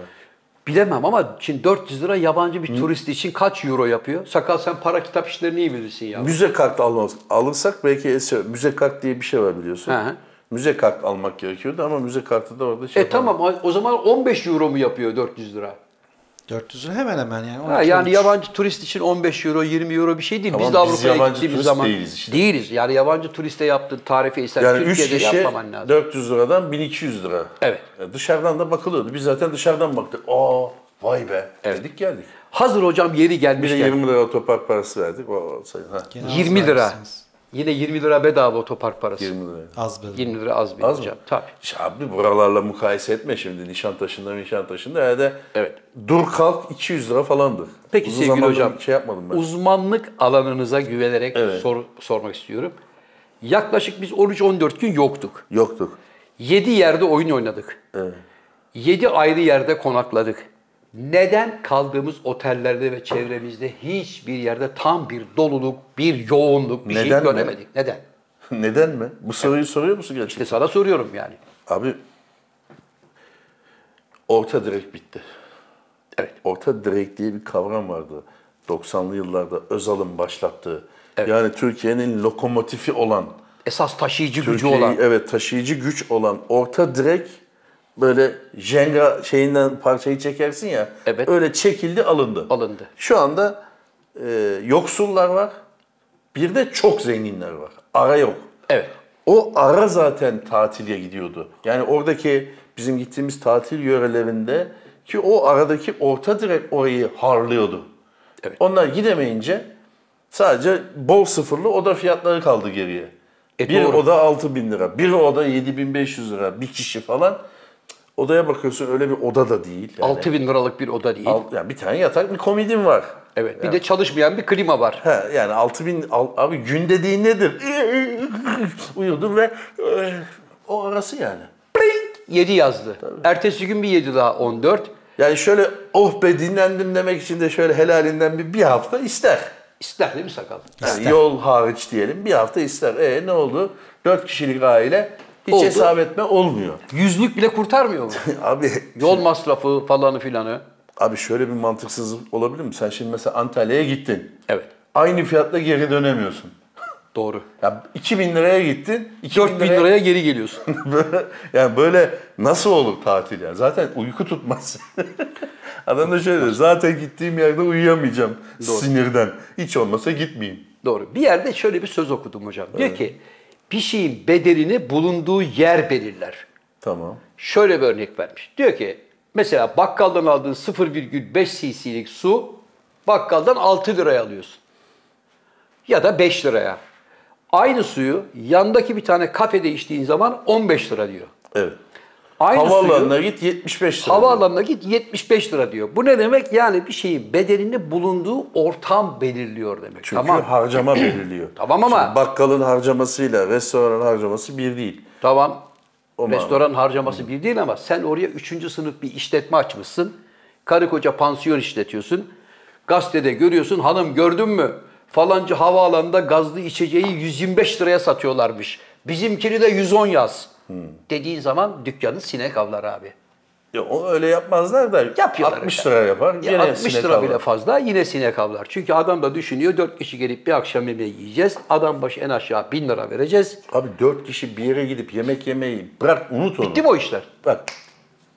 Speaker 3: Bilemem ama şimdi 400 lira yabancı bir turist için kaç euro yapıyor? Sakal sen para kitap işlerini iyi bilirsin ya.
Speaker 2: Müze kartı almaz. Alırsak belki eser- müze kart diye bir şey var biliyorsun.
Speaker 3: Hı hı.
Speaker 2: Müze kart almak gerekiyordu ama müze kartı da orada şey
Speaker 3: E tamam o- o zaman 15 euro mu yapıyor 400 lira?
Speaker 4: 400 lira hemen hemen yani.
Speaker 3: Ha,
Speaker 4: 12,
Speaker 3: yani
Speaker 4: 13.
Speaker 3: yabancı turist için 15 euro 20 euro bir şey değil.
Speaker 2: Tamam,
Speaker 3: biz de
Speaker 2: biz
Speaker 3: Avrupa'ya
Speaker 2: yabancı
Speaker 3: gittiğimiz
Speaker 2: turist
Speaker 3: zaman
Speaker 2: değiliz işte.
Speaker 3: değiliz. Yani yabancı turiste yaptığın tarife sen
Speaker 2: Yani 3
Speaker 3: Türkiye'de
Speaker 2: kişi
Speaker 3: yapmaman lazım.
Speaker 2: 400 liradan 1200 lira.
Speaker 3: Evet.
Speaker 2: E, Dışarıdan da bakılıyordu. Biz zaten dışarıdan baktık. Aa vay be dedik geldik.
Speaker 3: Hazır hocam yeri
Speaker 2: Bir de
Speaker 3: gelmişken
Speaker 2: 20 lira otopark parası verdik. O, o sayı- ha.
Speaker 3: 20 lira. Yine 20 lira bedava otopark parası. 20,
Speaker 2: 20 lira.
Speaker 4: Az böyle.
Speaker 3: lira az bir
Speaker 2: Az mı?
Speaker 3: hocam. Tabii.
Speaker 2: İşte abi buralarla mukayese etme şimdi. Nişantaşı'nda Nişantaşı'nda herhalde
Speaker 3: Evet.
Speaker 2: dur kalk 200 lira falandır.
Speaker 3: Peki
Speaker 2: Uzun
Speaker 3: sevgili
Speaker 2: zamandır
Speaker 3: hocam,
Speaker 2: şey yapmadım ben.
Speaker 3: uzmanlık alanınıza güvenerek
Speaker 2: Evet.
Speaker 3: sor- sormak istiyorum. Yaklaşık biz 13-14 gün yoktuk.
Speaker 2: Yoktuk.
Speaker 3: 7 yerde oyun oynadık.
Speaker 2: Evet.
Speaker 3: 7 ayrı yerde konakladık. Neden kaldığımız otellerde ve çevremizde hiçbir yerde tam bir doluluk, bir yoğunluk, bir şey
Speaker 2: Neden mi?
Speaker 3: göremedik? Neden?
Speaker 2: Neden mi? Bu soruyu soruyor musun gerçekten?
Speaker 3: İşte sana soruyorum yani.
Speaker 2: Abi orta direk bitti.
Speaker 3: Evet.
Speaker 2: Orta direk diye bir kavram vardı. 90'lı yıllarda Özal'ın başlattığı. Yani Türkiye'nin lokomotifi olan,
Speaker 3: Esas taşıyıcı gücü
Speaker 2: Türkiye'yi-
Speaker 3: olan.
Speaker 2: evet taşıyıcı güç olan orta direk böyle jenga şeyinden parçayı çekersin ya.
Speaker 3: Evet.
Speaker 2: Öyle çekildi alındı.
Speaker 3: Alındı.
Speaker 2: Şu anda e, yoksullar var. Bir de çok zenginler var. Ara yok.
Speaker 3: Evet.
Speaker 2: O ara zaten tatile gidiyordu. Yani oradaki bizim gittiğimiz tatil yörelerinde ki o aradaki orta direk orayı harlıyordu.
Speaker 3: Evet.
Speaker 2: Onlar gidemeyince sadece bol sıfırlı oda fiyatları kaldı geriye.
Speaker 3: E,
Speaker 2: bir
Speaker 3: doğru.
Speaker 2: oda 6 bin lira, bir oda 7500 lira, bir kişi falan. Cık, Odaya bakıyorsun öyle bir oda da değil. Yani.
Speaker 3: 6000 liralık bir oda değil.
Speaker 2: Alt- yani bir tane yatak bir komodin var.
Speaker 3: Evet. Bir de çalışmayan bir klima var.
Speaker 2: He, yani 6000 al- abi gün dediğin nedir? Uyudum ve e, o arası yani.
Speaker 3: 7 yazdı. Ertesi gün bir 7 daha 14.
Speaker 2: Yani şöyle oh be dinlendim demek için de şöyle helalinden bir, bir hafta ister.
Speaker 3: İster değil mi sakal?
Speaker 2: Yani yol hariç diyelim bir hafta ister. E ne oldu? 4 kişilik aile hiç
Speaker 3: Oldu.
Speaker 2: hesap etme olmuyor.
Speaker 3: Yüzlük bile kurtarmıyor mu?
Speaker 2: abi
Speaker 3: Yol masrafı falanı filanı.
Speaker 2: abi şöyle bir mantıksızlık olabilir mi? Sen şimdi mesela Antalya'ya gittin.
Speaker 3: Evet.
Speaker 2: Aynı fiyatla geri dönemiyorsun.
Speaker 3: Doğru.
Speaker 2: Ya 2000 liraya gittin. 2000
Speaker 3: 4000 liraya geri geliyorsun.
Speaker 2: böyle, yani böyle nasıl olur tatil yani? Zaten uyku tutmaz. Adam da şöyle diyor, zaten gittiğim yerde uyuyamayacağım sinirden. Hiç olmasa gitmeyeyim.
Speaker 3: Doğru. Bir yerde şöyle bir söz okudum hocam. Diyor ki bir şeyin bedelini bulunduğu yer belirler.
Speaker 2: Tamam.
Speaker 3: Şöyle bir örnek vermiş. Diyor ki mesela bakkaldan aldığın 0,5 cc'lik su bakkaldan 6 liraya alıyorsun. Ya da 5 liraya. Aynı suyu yandaki bir tane kafede içtiğin zaman 15 lira diyor.
Speaker 2: Evet.
Speaker 3: Aynı suyu-
Speaker 2: Havaalanına git 75 lira.
Speaker 3: Havaalanına git 75 lira diyor. Bu ne demek? Yani bir şeyin bedelini bulunduğu ortam belirliyor demek.
Speaker 2: Çünkü
Speaker 3: tamam.
Speaker 2: harcama belirliyor.
Speaker 3: Tamam ama-
Speaker 2: Şimdi bakkalın harcamasıyla restoranın harcaması bir değil.
Speaker 3: Tamam.
Speaker 2: O
Speaker 3: Restoran harcaması bir değil ama sen oraya 3. sınıf bir işletme açmışsın. Karı koca pansiyon işletiyorsun. Gazetede görüyorsun hanım gördün mü? Falanca havaalanında gazlı içeceği 125 liraya satıyorlarmış. Bizimkini de 110 yaz.
Speaker 2: Hmm.
Speaker 3: Dediğin zaman dükkanı sinek avlar abi.
Speaker 2: Ya o öyle yapmazlar da
Speaker 3: Yapıyorlar
Speaker 2: 60
Speaker 3: işte.
Speaker 2: lira yapar.
Speaker 3: Ya
Speaker 2: gene
Speaker 3: 60
Speaker 2: sinek
Speaker 3: lira
Speaker 2: avlar.
Speaker 3: bile fazla yine sinek avlar. Çünkü adam da düşünüyor 4 kişi gelip bir akşam yemeği yiyeceğiz. Adam başı en aşağı 1000 lira vereceğiz.
Speaker 2: Abi 4 kişi bir yere gidip yemek yemeyi bırak unut onu.
Speaker 3: Bitti mi o işler?
Speaker 2: Bak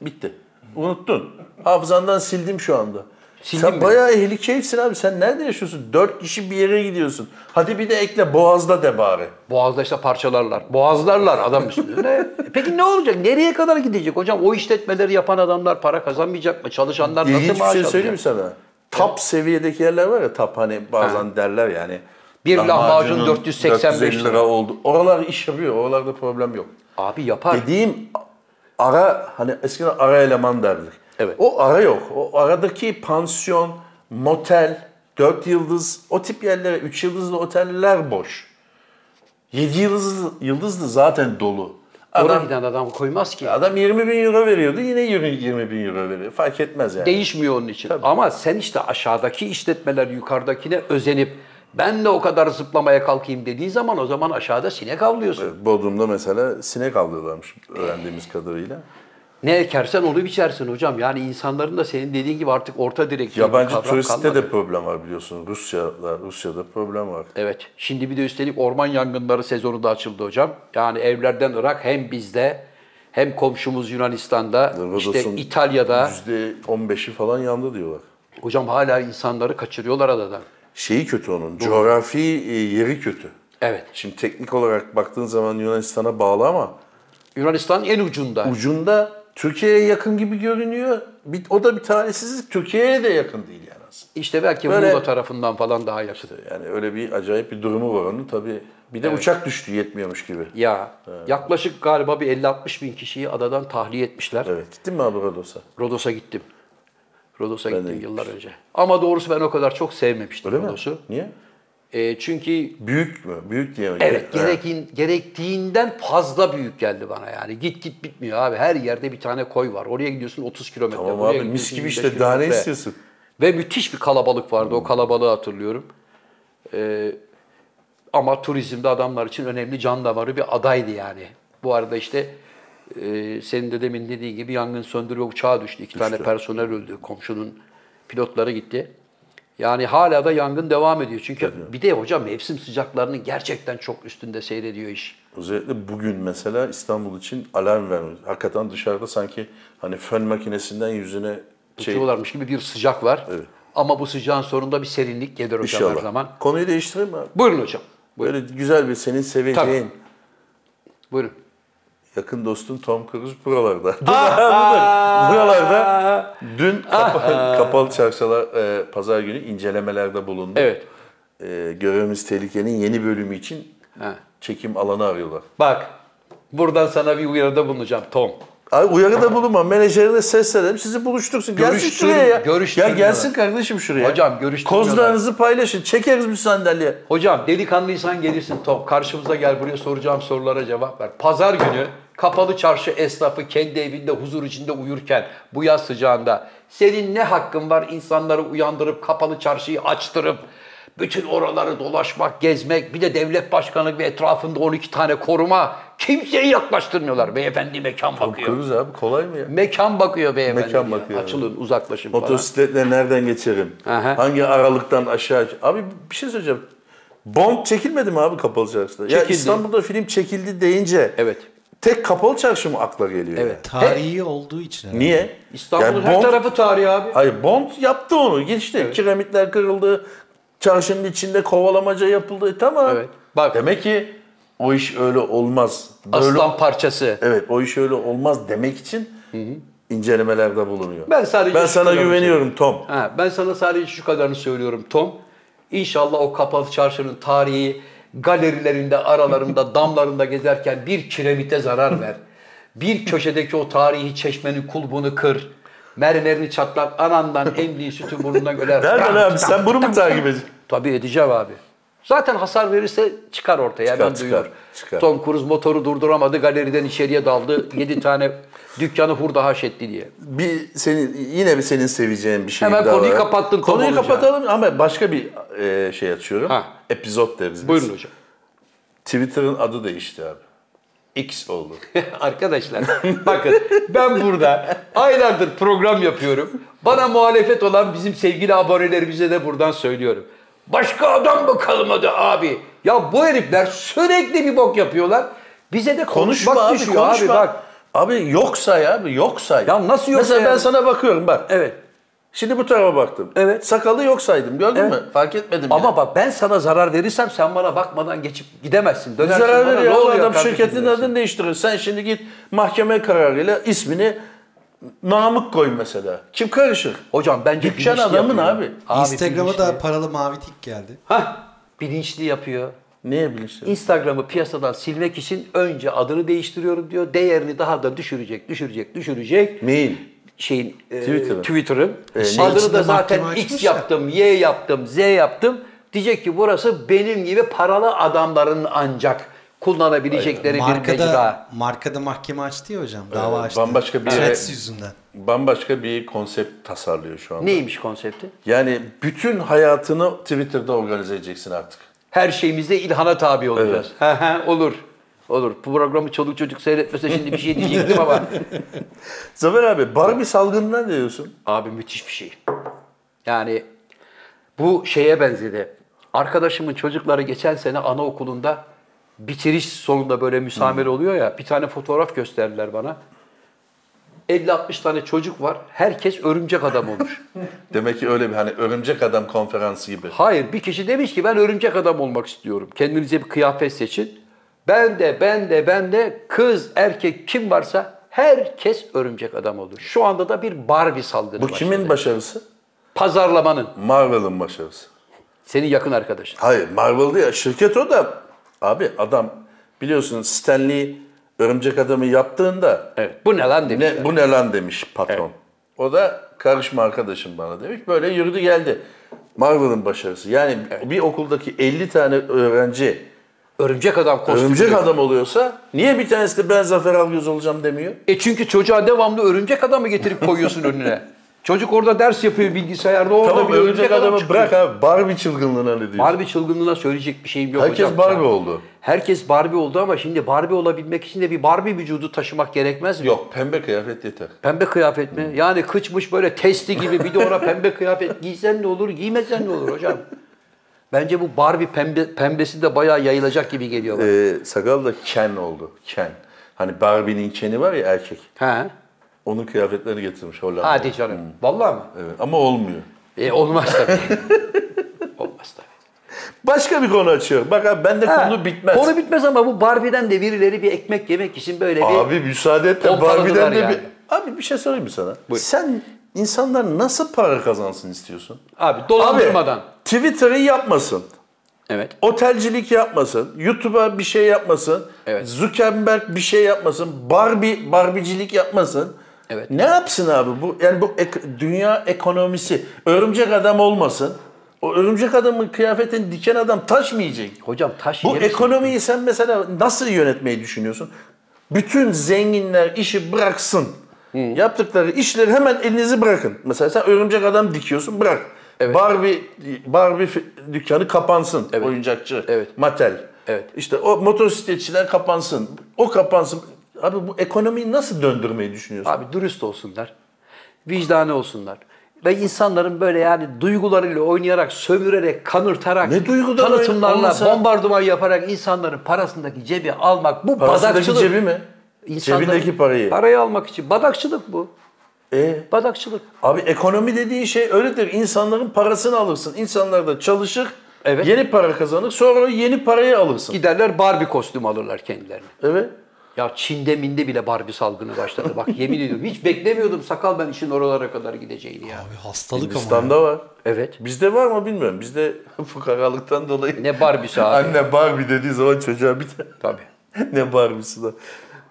Speaker 2: bitti. Unuttun. Hafızandan sildim şu anda.
Speaker 3: Sildin
Speaker 2: sen
Speaker 3: mi?
Speaker 2: bayağı ehli keyifsin abi. Sen nerede yaşıyorsun? Dört kişi bir yere gidiyorsun. Hadi bir de ekle Boğaz'da de bari.
Speaker 3: Boğazda işte parçalarlar. Boğazlarlar adam üstüne. Peki ne olacak? Nereye kadar gidecek hocam? O işletmeleri yapan adamlar para kazanmayacak mı? Çalışanlar nasıl
Speaker 2: İlginç bir
Speaker 3: maaş
Speaker 2: şey
Speaker 3: alacak?
Speaker 2: söyleyeyim mi sana? Tap seviyedeki yerler var ya tap hani bazen derler yani.
Speaker 3: Bir lahmacun
Speaker 2: lahmacunun
Speaker 3: 485
Speaker 2: 450 lira oldu. Oralar iş yapıyor. Oralarda problem yok.
Speaker 3: Abi yapar.
Speaker 2: Dediğim ara hani eskiden ara eleman derdik.
Speaker 3: Evet.
Speaker 2: O ara yok. O aradaki pansiyon, motel, 4 yıldız o tip yerlere 3 yıldızlı oteller boş. 7 yıldızlı, yıldızlı zaten dolu.
Speaker 3: Oraya
Speaker 2: Adam,
Speaker 3: giden adam koymaz ki.
Speaker 2: adam 20 bin euro veriyordu yine 20, 20 bin euro veriyor. Fark etmez yani.
Speaker 3: Değişmiyor onun için. Ama sen işte aşağıdaki işletmeler yukarıdakine özenip ben de o kadar zıplamaya kalkayım dediği zaman o zaman aşağıda sinek avlıyorsun.
Speaker 2: Bodrum'da mesela sinek avlıyorlarmış öğrendiğimiz kadarıyla.
Speaker 3: Ne ekersen onu biçersin hocam. Yani insanların da senin dediğin gibi artık orta direkt diye bir
Speaker 2: Yabancı
Speaker 3: kavram
Speaker 2: turistte
Speaker 3: kalmadı.
Speaker 2: de problem var biliyorsun. Rusya'da, Rusya'da problem var.
Speaker 3: Evet. Şimdi bir de üstelik orman yangınları sezonu da açıldı hocam. Yani evlerden Irak hem bizde hem komşumuz Yunanistan'da işte
Speaker 2: Rodos'un
Speaker 3: İtalya'da
Speaker 2: %15'i falan yandı diyorlar.
Speaker 3: hocam hala insanları kaçırıyorlar adadan.
Speaker 2: şeyi kötü onun. Coğrafi e, yeri kötü.
Speaker 3: Evet.
Speaker 2: Şimdi teknik olarak baktığın zaman Yunanistan'a bağlı ama
Speaker 3: Yunanistan en ucunda.
Speaker 2: ucunda Türkiye'ye yakın gibi görünüyor. Bir- O da bir talihsizlik. Türkiye'ye de yakın değil yani aslında.
Speaker 3: İşte belki
Speaker 2: Böyle-
Speaker 3: Muğla tarafından falan daha yakın.
Speaker 2: Yani öyle bir acayip bir durumu var onun tabii. Bir de uçak düştü yetmiyormuş gibi.
Speaker 3: Ya yaklaşık galiba bir 50-60 bin kişiyi adadan tahliye etmişler.
Speaker 2: Evet. Gittin mi abi Rodos'a?
Speaker 3: Rodos'a gittim. Rodos'a
Speaker 2: de
Speaker 3: gittim yıllar önce. Ama doğrusu ben o kadar çok sevmemiştim
Speaker 2: Öyle mi?
Speaker 3: Rodos'u.
Speaker 2: Niye?
Speaker 3: E, çünkü
Speaker 2: Büyük mü? Büyük diye mi?
Speaker 3: evet
Speaker 2: Ha.
Speaker 3: gerekin, gerektiğinden fazla büyük geldi bana yani. Git git bitmiyor abi. Her yerde bir tane koy var. Oraya gidiyorsun 30 kilometre.
Speaker 2: Tamam
Speaker 3: buraya
Speaker 2: abi
Speaker 3: gidiyorsun
Speaker 2: mis gibi
Speaker 3: 25
Speaker 2: işte daha ne
Speaker 3: kilometre.
Speaker 2: istiyorsun?
Speaker 3: Ve müthiş bir kalabalık vardı. O kalabalığı hatırlıyorum. Ee, ama turizmde adamlar için önemli can damarı bir adaydı yani. Bu arada işte e, senin de demin dediğin gibi yangın söndürme uçağı düştü. İki tane personel öldü. Komşunun pilotları gitti. Yani hala da yangın devam ediyor. Çünkü bir de hocam mevsim sıcaklarının gerçekten çok üstünde seyrediyor iş.
Speaker 2: Özellikle bugün mesela İstanbul için alarm vermiyor. Hakikaten dışarıda sanki hani fön makinesinden yüzüne şey
Speaker 3: Tutuyorlarmış gibi bir sıcak var. Ama bu sıcağın sonunda bir serinlik gelir hocam her
Speaker 2: inşallah.
Speaker 3: zaman.
Speaker 2: Konuyu değiştireyim mi abi?
Speaker 3: Buyurun hocam. Buyurun.
Speaker 2: Böyle güzel bir senin seveceğin
Speaker 3: Buyurun.
Speaker 2: yakın dostun Tom Cruise buralarda. buralarda. buralarda. Dün kapa- kapalı çarşılar e, pazar günü incelemelerde bulundu.
Speaker 3: Evet.
Speaker 2: E, görevimiz tehlikenin yeni bölümü için
Speaker 3: Ha.
Speaker 2: çekim alanı arıyorlar.
Speaker 3: Bak buradan sana bir uyarıda bulunacağım Tom.
Speaker 2: Abi uyarıda bulunma. Menajerine seslenelim. Sizi buluştursun. Gelsin
Speaker 3: Görüştürün-
Speaker 2: şuraya ya. Ya
Speaker 3: görüştürmüyorlar.
Speaker 2: gelsin kardeşim şuraya.
Speaker 3: Hocam görüştürmüyorlar.
Speaker 2: Kozlarınızı paylaşın. Çekeriz bir sandalye.
Speaker 3: Hocam delikanlıysan gelirsin Tom. Karşımıza gel buraya soracağım sorulara cevap ver. Pazar günü kapalı çarşı esnafı kendi evinde huzur içinde uyurken bu yaz sıcağında senin ne hakkın var insanları uyandırıp kapalı çarşıyı açtırıp bütün oraları dolaşmak, gezmek, bir de devlet başkanı ve etrafında 12 tane koruma kimseyi yaklaştırmıyorlar. Beyefendi mekan bakıyor.
Speaker 2: Cruise abi kolay mı ya?
Speaker 3: Mekan bakıyor beyefendi.
Speaker 2: Mekan
Speaker 3: diyor.
Speaker 2: bakıyor.
Speaker 3: Açılın, uzaklaşın falan.
Speaker 2: Motosikletle nereden geçerim?
Speaker 3: Aha.
Speaker 2: Hangi aralıktan aşağı? Abi bir şey söyleyeceğim. Bond çekilmedi mi abi kapalı çarşıda? Ya
Speaker 3: Çekildi.
Speaker 2: İstanbul'da film çekildi deyince
Speaker 3: Evet.
Speaker 2: tek kapalı çarşı mı akla geliyor?
Speaker 3: Evet.
Speaker 4: Tarihi olduğu için. herhalde.
Speaker 2: Niye?
Speaker 3: İstanbul'un
Speaker 2: Yani
Speaker 3: her
Speaker 2: Bond-
Speaker 3: tarafı tarih abi.
Speaker 2: Hayır Bond yaptı onu. Geçti. Kiremitler kırıldı. Çarşının içinde kovalamaca yapıldı. E, Tamam.
Speaker 3: Evet. Bak.
Speaker 2: Demek ki o iş öyle olmaz. Böyle,
Speaker 3: Aslan parçası.
Speaker 2: Evet o iş öyle olmaz demek için incelemelerde bulunuyor.
Speaker 3: Ben sadece
Speaker 2: ben
Speaker 3: şu
Speaker 2: sana
Speaker 3: kadarını
Speaker 2: güveniyorum Tom.
Speaker 3: Ha, ben sana sadece şu kadarını söylüyorum Tom. İnşallah o kapalı çarşının tarihi galerilerinde, aralarında, damlarında gezerken bir kiremite zarar ver. Bir köşedeki o tarihi çeşmenin kulbunu kır. Mermerini çatlat, anandan emdiği sütü burnundan göler.
Speaker 2: Nereden abi sen bunu mu takip ediyorsun?
Speaker 3: Tabii edeceğim abi. Zaten hasar verirse çıkar ortaya hemen
Speaker 2: çıkar,
Speaker 3: duyulur.
Speaker 2: çıkar.
Speaker 3: Tom Cruise motoru durduramadı, galeriden içeriye daldı. 7 tane dükkanı hurda haş etti diye.
Speaker 2: Bir senin yine bir senin seveceğin bir şey
Speaker 3: Hemen
Speaker 2: daha
Speaker 3: konuyu
Speaker 2: var.
Speaker 3: kapattın, Tom
Speaker 2: Konuyu
Speaker 3: olacak.
Speaker 2: kapatalım ama başka bir e, şey açıyorum.
Speaker 3: Ha.
Speaker 2: Epizod deriz biz.
Speaker 3: Buyurun hocam.
Speaker 2: Twitter'ın adı değişti abi. X oldu.
Speaker 3: Arkadaşlar bakın ben burada aylardır program yapıyorum. Bana muhalefet olan bizim sevgili abonelerimize de buradan söylüyorum. Başka adam mı kalmadı abi? Ya bu herifler sürekli bir bok yapıyorlar. Bize de
Speaker 2: Konuşma
Speaker 3: konuşmak
Speaker 2: abi,
Speaker 3: düşüyor
Speaker 2: konuşma.
Speaker 3: abi bak.
Speaker 2: Abi yok say abi, yok say.
Speaker 3: Ya nasıl yok
Speaker 2: Mesela
Speaker 3: say
Speaker 2: ben
Speaker 3: abi?
Speaker 2: sana bakıyorum bak.
Speaker 3: Evet.
Speaker 2: Şimdi bu tarafa baktım.
Speaker 3: Evet.
Speaker 2: Sakalı yok saydım gördün
Speaker 3: Evet.
Speaker 2: mü? Fark etmedim
Speaker 3: Ama
Speaker 2: bile.
Speaker 3: bak ben sana zarar verirsem sen bana bakmadan geçip gidemezsin. Dönersin
Speaker 2: zarar
Speaker 3: bana,
Speaker 2: veriyor.
Speaker 3: ne
Speaker 2: Oğlum
Speaker 3: oluyor
Speaker 2: adam
Speaker 3: kardeşim
Speaker 2: şirketin
Speaker 3: dersin.
Speaker 2: adını değiştiriyor. Sen şimdi git mahkeme kararıyla ismini Namık koy mesela. Kim karışır?
Speaker 3: Hocam bence
Speaker 2: Dükkan
Speaker 3: bilinçli
Speaker 2: adamın
Speaker 3: yapıyor.
Speaker 2: abi.
Speaker 4: Instagram'a da
Speaker 3: bilinçli.
Speaker 4: paralı mavi tik geldi.
Speaker 3: Hah, bilinçli yapıyor.
Speaker 2: Niye bilinçli?
Speaker 3: Instagram'ı piyasadan silmek için önce adını değiştiriyorum diyor. Değerini daha da düşürecek, düşürecek, düşürecek.
Speaker 2: Mail.
Speaker 3: Şeyin e,
Speaker 2: Twitter'ın.
Speaker 3: Twitter'ın.
Speaker 4: Şey
Speaker 3: adını
Speaker 4: içinde
Speaker 3: da zaten
Speaker 4: mahkeme
Speaker 3: X
Speaker 4: açmış ya.
Speaker 3: yaptım, Y yaptım, Z yaptım. Diyecek ki burası benim gibi paralı adamların ancak kullanabilecekleri bir mecra.
Speaker 4: Markada, markada mahkeme açtı ya hocam. Dava açtı.
Speaker 2: bambaşka bir-
Speaker 4: Threads yüzünden.
Speaker 2: Bambaşka bir konsept tasarlıyor şu anda.
Speaker 3: Neymiş konsepti?
Speaker 2: Yani bütün hayatını Twitter'da organize edeceksin artık.
Speaker 3: Her şeyimizde ilhana tabi olacağız. He he, olur. Olur. Bu programı çoluk çocuk seyretmese şimdi bir şey diyecektim ama
Speaker 2: Zafer abi Barbie salgınına ne diyorsun?
Speaker 3: Abi müthiş bir şey. Yani bu şeye benzedi. Arkadaşımın çocukları geçen sene anaokulunda bitiriş sonunda böyle
Speaker 2: Hmm.
Speaker 3: müsamere oluyor ya. Bir tane fotoğraf gösterdiler bana. 50-60 tane çocuk var. Herkes örümcek adam olmuş.
Speaker 2: Demek ki öyle bir hani örümcek adam konferansı gibi.
Speaker 3: Hayır bir kişi demiş ki ben örümcek adam olmak istiyorum. Kendinize bir kıyafet seçin. Ben de ben de ben de kız erkek kim varsa herkes örümcek adam oldu. Şu anda da bir Barbie salgını
Speaker 2: Bu
Speaker 3: başladı.
Speaker 2: kimin başarısı?
Speaker 3: Pazarlamanın.
Speaker 2: Marvel'ın başarısı.
Speaker 3: Senin yakın arkadaşın.
Speaker 2: Hayır Marvel'dı ya şirket o da. Abi adam biliyorsun Stanley Örümcek Adam'ı yaptığında
Speaker 3: Evet. Bu ne lan demişler.
Speaker 2: ne, bu ne lan demiş patron. O da karışma arkadaşım bana demiş. Böyle yürüdü geldi. Marvel'ın başarısı. Yani bir okuldaki 50 tane öğrenci
Speaker 3: Örümcek adam kostümü.
Speaker 2: örümcek adam oluyorsa niye bir tanesi de ben Zafer Algöz olacağım demiyor?
Speaker 3: E çünkü çocuğa devamlı örümcek adamı getirip koyuyorsun önüne. Çocuk orada ders yapıyor bilgisayarda. Orada
Speaker 2: Tamam
Speaker 3: bir
Speaker 2: örümcek, adamı
Speaker 3: adam çıkıyor.
Speaker 2: bırak abi Barbie çılgınlığına ne diyorsun?
Speaker 3: Barbie çılgınlığına söyleyecek bir şeyim yok
Speaker 2: Herkes
Speaker 3: hocam.
Speaker 2: Barbie
Speaker 3: Ya.
Speaker 2: oldu.
Speaker 3: Herkes Barbie oldu ama şimdi Barbie olabilmek için de bir Barbie vücudu taşımak gerekmez mi?
Speaker 2: Yok pembe kıyafet yeter.
Speaker 3: Pembe kıyafet mi? Yani kıçmış böyle testi gibi bir de ona pembe kıyafet giysen ne olur, giymesen ne olur hocam? Bence bu Barbie pembe, pembesi de bayağı yayılacak gibi geliyor bana.
Speaker 2: Ee, sakal da Ken oldu. Ken. Hani Barbie'nin Ken'i var ya erkek.
Speaker 3: He.
Speaker 2: Onun kıyafetlerini getirmiş Hollanda.
Speaker 3: Hadi canım. Vallahi mi?
Speaker 2: Evet, ama olmuyor.
Speaker 3: E, olmaz tabii. olmaz tabii.
Speaker 2: Başka bir konu açıyor. Bak abi bende
Speaker 3: Ha,
Speaker 2: konu bitmez.
Speaker 3: Konu bitmez ama bu Barbie'den de birileri bir ekmek yemek için böyle bir...
Speaker 2: Abi müsaade et de
Speaker 3: Pompaladılar
Speaker 2: Barbie'den de
Speaker 3: yani.
Speaker 2: bir... Abi bir şey sorayım mı sana? Sen insanlar nasıl para kazansın istiyorsun?
Speaker 3: Abi dolandırmadan.
Speaker 2: Twitter'ı yapmasın.
Speaker 3: Evet.
Speaker 2: Otelcilik yapmasın. YouTube'a bir şey yapmasın.
Speaker 3: Evet.
Speaker 2: Zuckerberg bir şey yapmasın. Barbie, Barbicilik yapmasın.
Speaker 3: Evet.
Speaker 2: Ne yapsın abi bu? Yani bu ek- dünya ekonomisi. Örümcek adam olmasın. O örümcek adamın kıyafetini diken adam taş mı yiyecek?
Speaker 3: Hocam taş
Speaker 2: Bu
Speaker 3: yemişsin.
Speaker 2: ekonomiyi sen mesela nasıl yönetmeyi düşünüyorsun? Bütün zenginler işi bıraksın. Yaptıkları işleri hemen elinizi bırakın. Mesela sen örümcek adam dikiyorsun bırak. Barbie Barbie fi- dükkanı kapansın. Oyuncakçı.
Speaker 3: Evet.
Speaker 2: Mattel.
Speaker 3: Evet.
Speaker 2: İşte o motosikletçiler kapansın. O kapansın. Abi bu ekonomiyi nasıl döndürmeyi düşünüyorsun?
Speaker 3: Abi dürüst olsunlar. Vicdani olsunlar. Ve insanların böyle yani duygularıyla oynayarak, sömürerek, kanırtarak,
Speaker 2: Ne duygudan
Speaker 3: tanıtımlarla,
Speaker 2: oyun- olmasa-
Speaker 3: bombardıman yaparak insanların parasındaki cebi almak bu
Speaker 2: Parasındaki
Speaker 3: badakçılık.
Speaker 2: cebi mi?
Speaker 3: İnsanların
Speaker 2: Cebindeki parayı.
Speaker 3: Parayı almak için. Badakçılık bu.
Speaker 2: E?
Speaker 3: Badakçılık.
Speaker 2: Abi ekonomi dediği şey öyledir. İnsanların parasını alırsın. İnsanlar da çalışır.
Speaker 3: Evet.
Speaker 2: Yeni para kazanır. Sonra o yeni parayı alırsın.
Speaker 3: Giderler Barbie kostümü alırlar kendilerine.
Speaker 2: Evet.
Speaker 3: Ya Çin'de minde bile Barbie salgını başladı. Bak yemin ediyorum hiç beklemiyordum sakal ben işin oralara kadar gideceğini ya.
Speaker 4: Abi hastalık ama. ya.
Speaker 2: İslam'da var.
Speaker 3: Evet.
Speaker 2: Bizde var mı bilmiyorum. Bizde fukaralıktan dolayı.
Speaker 3: Ne Barbie'si abi.
Speaker 2: Anne Barbie dediği zaman çocuğa bir tane.
Speaker 3: Tabii.
Speaker 2: ne Barbie'si de.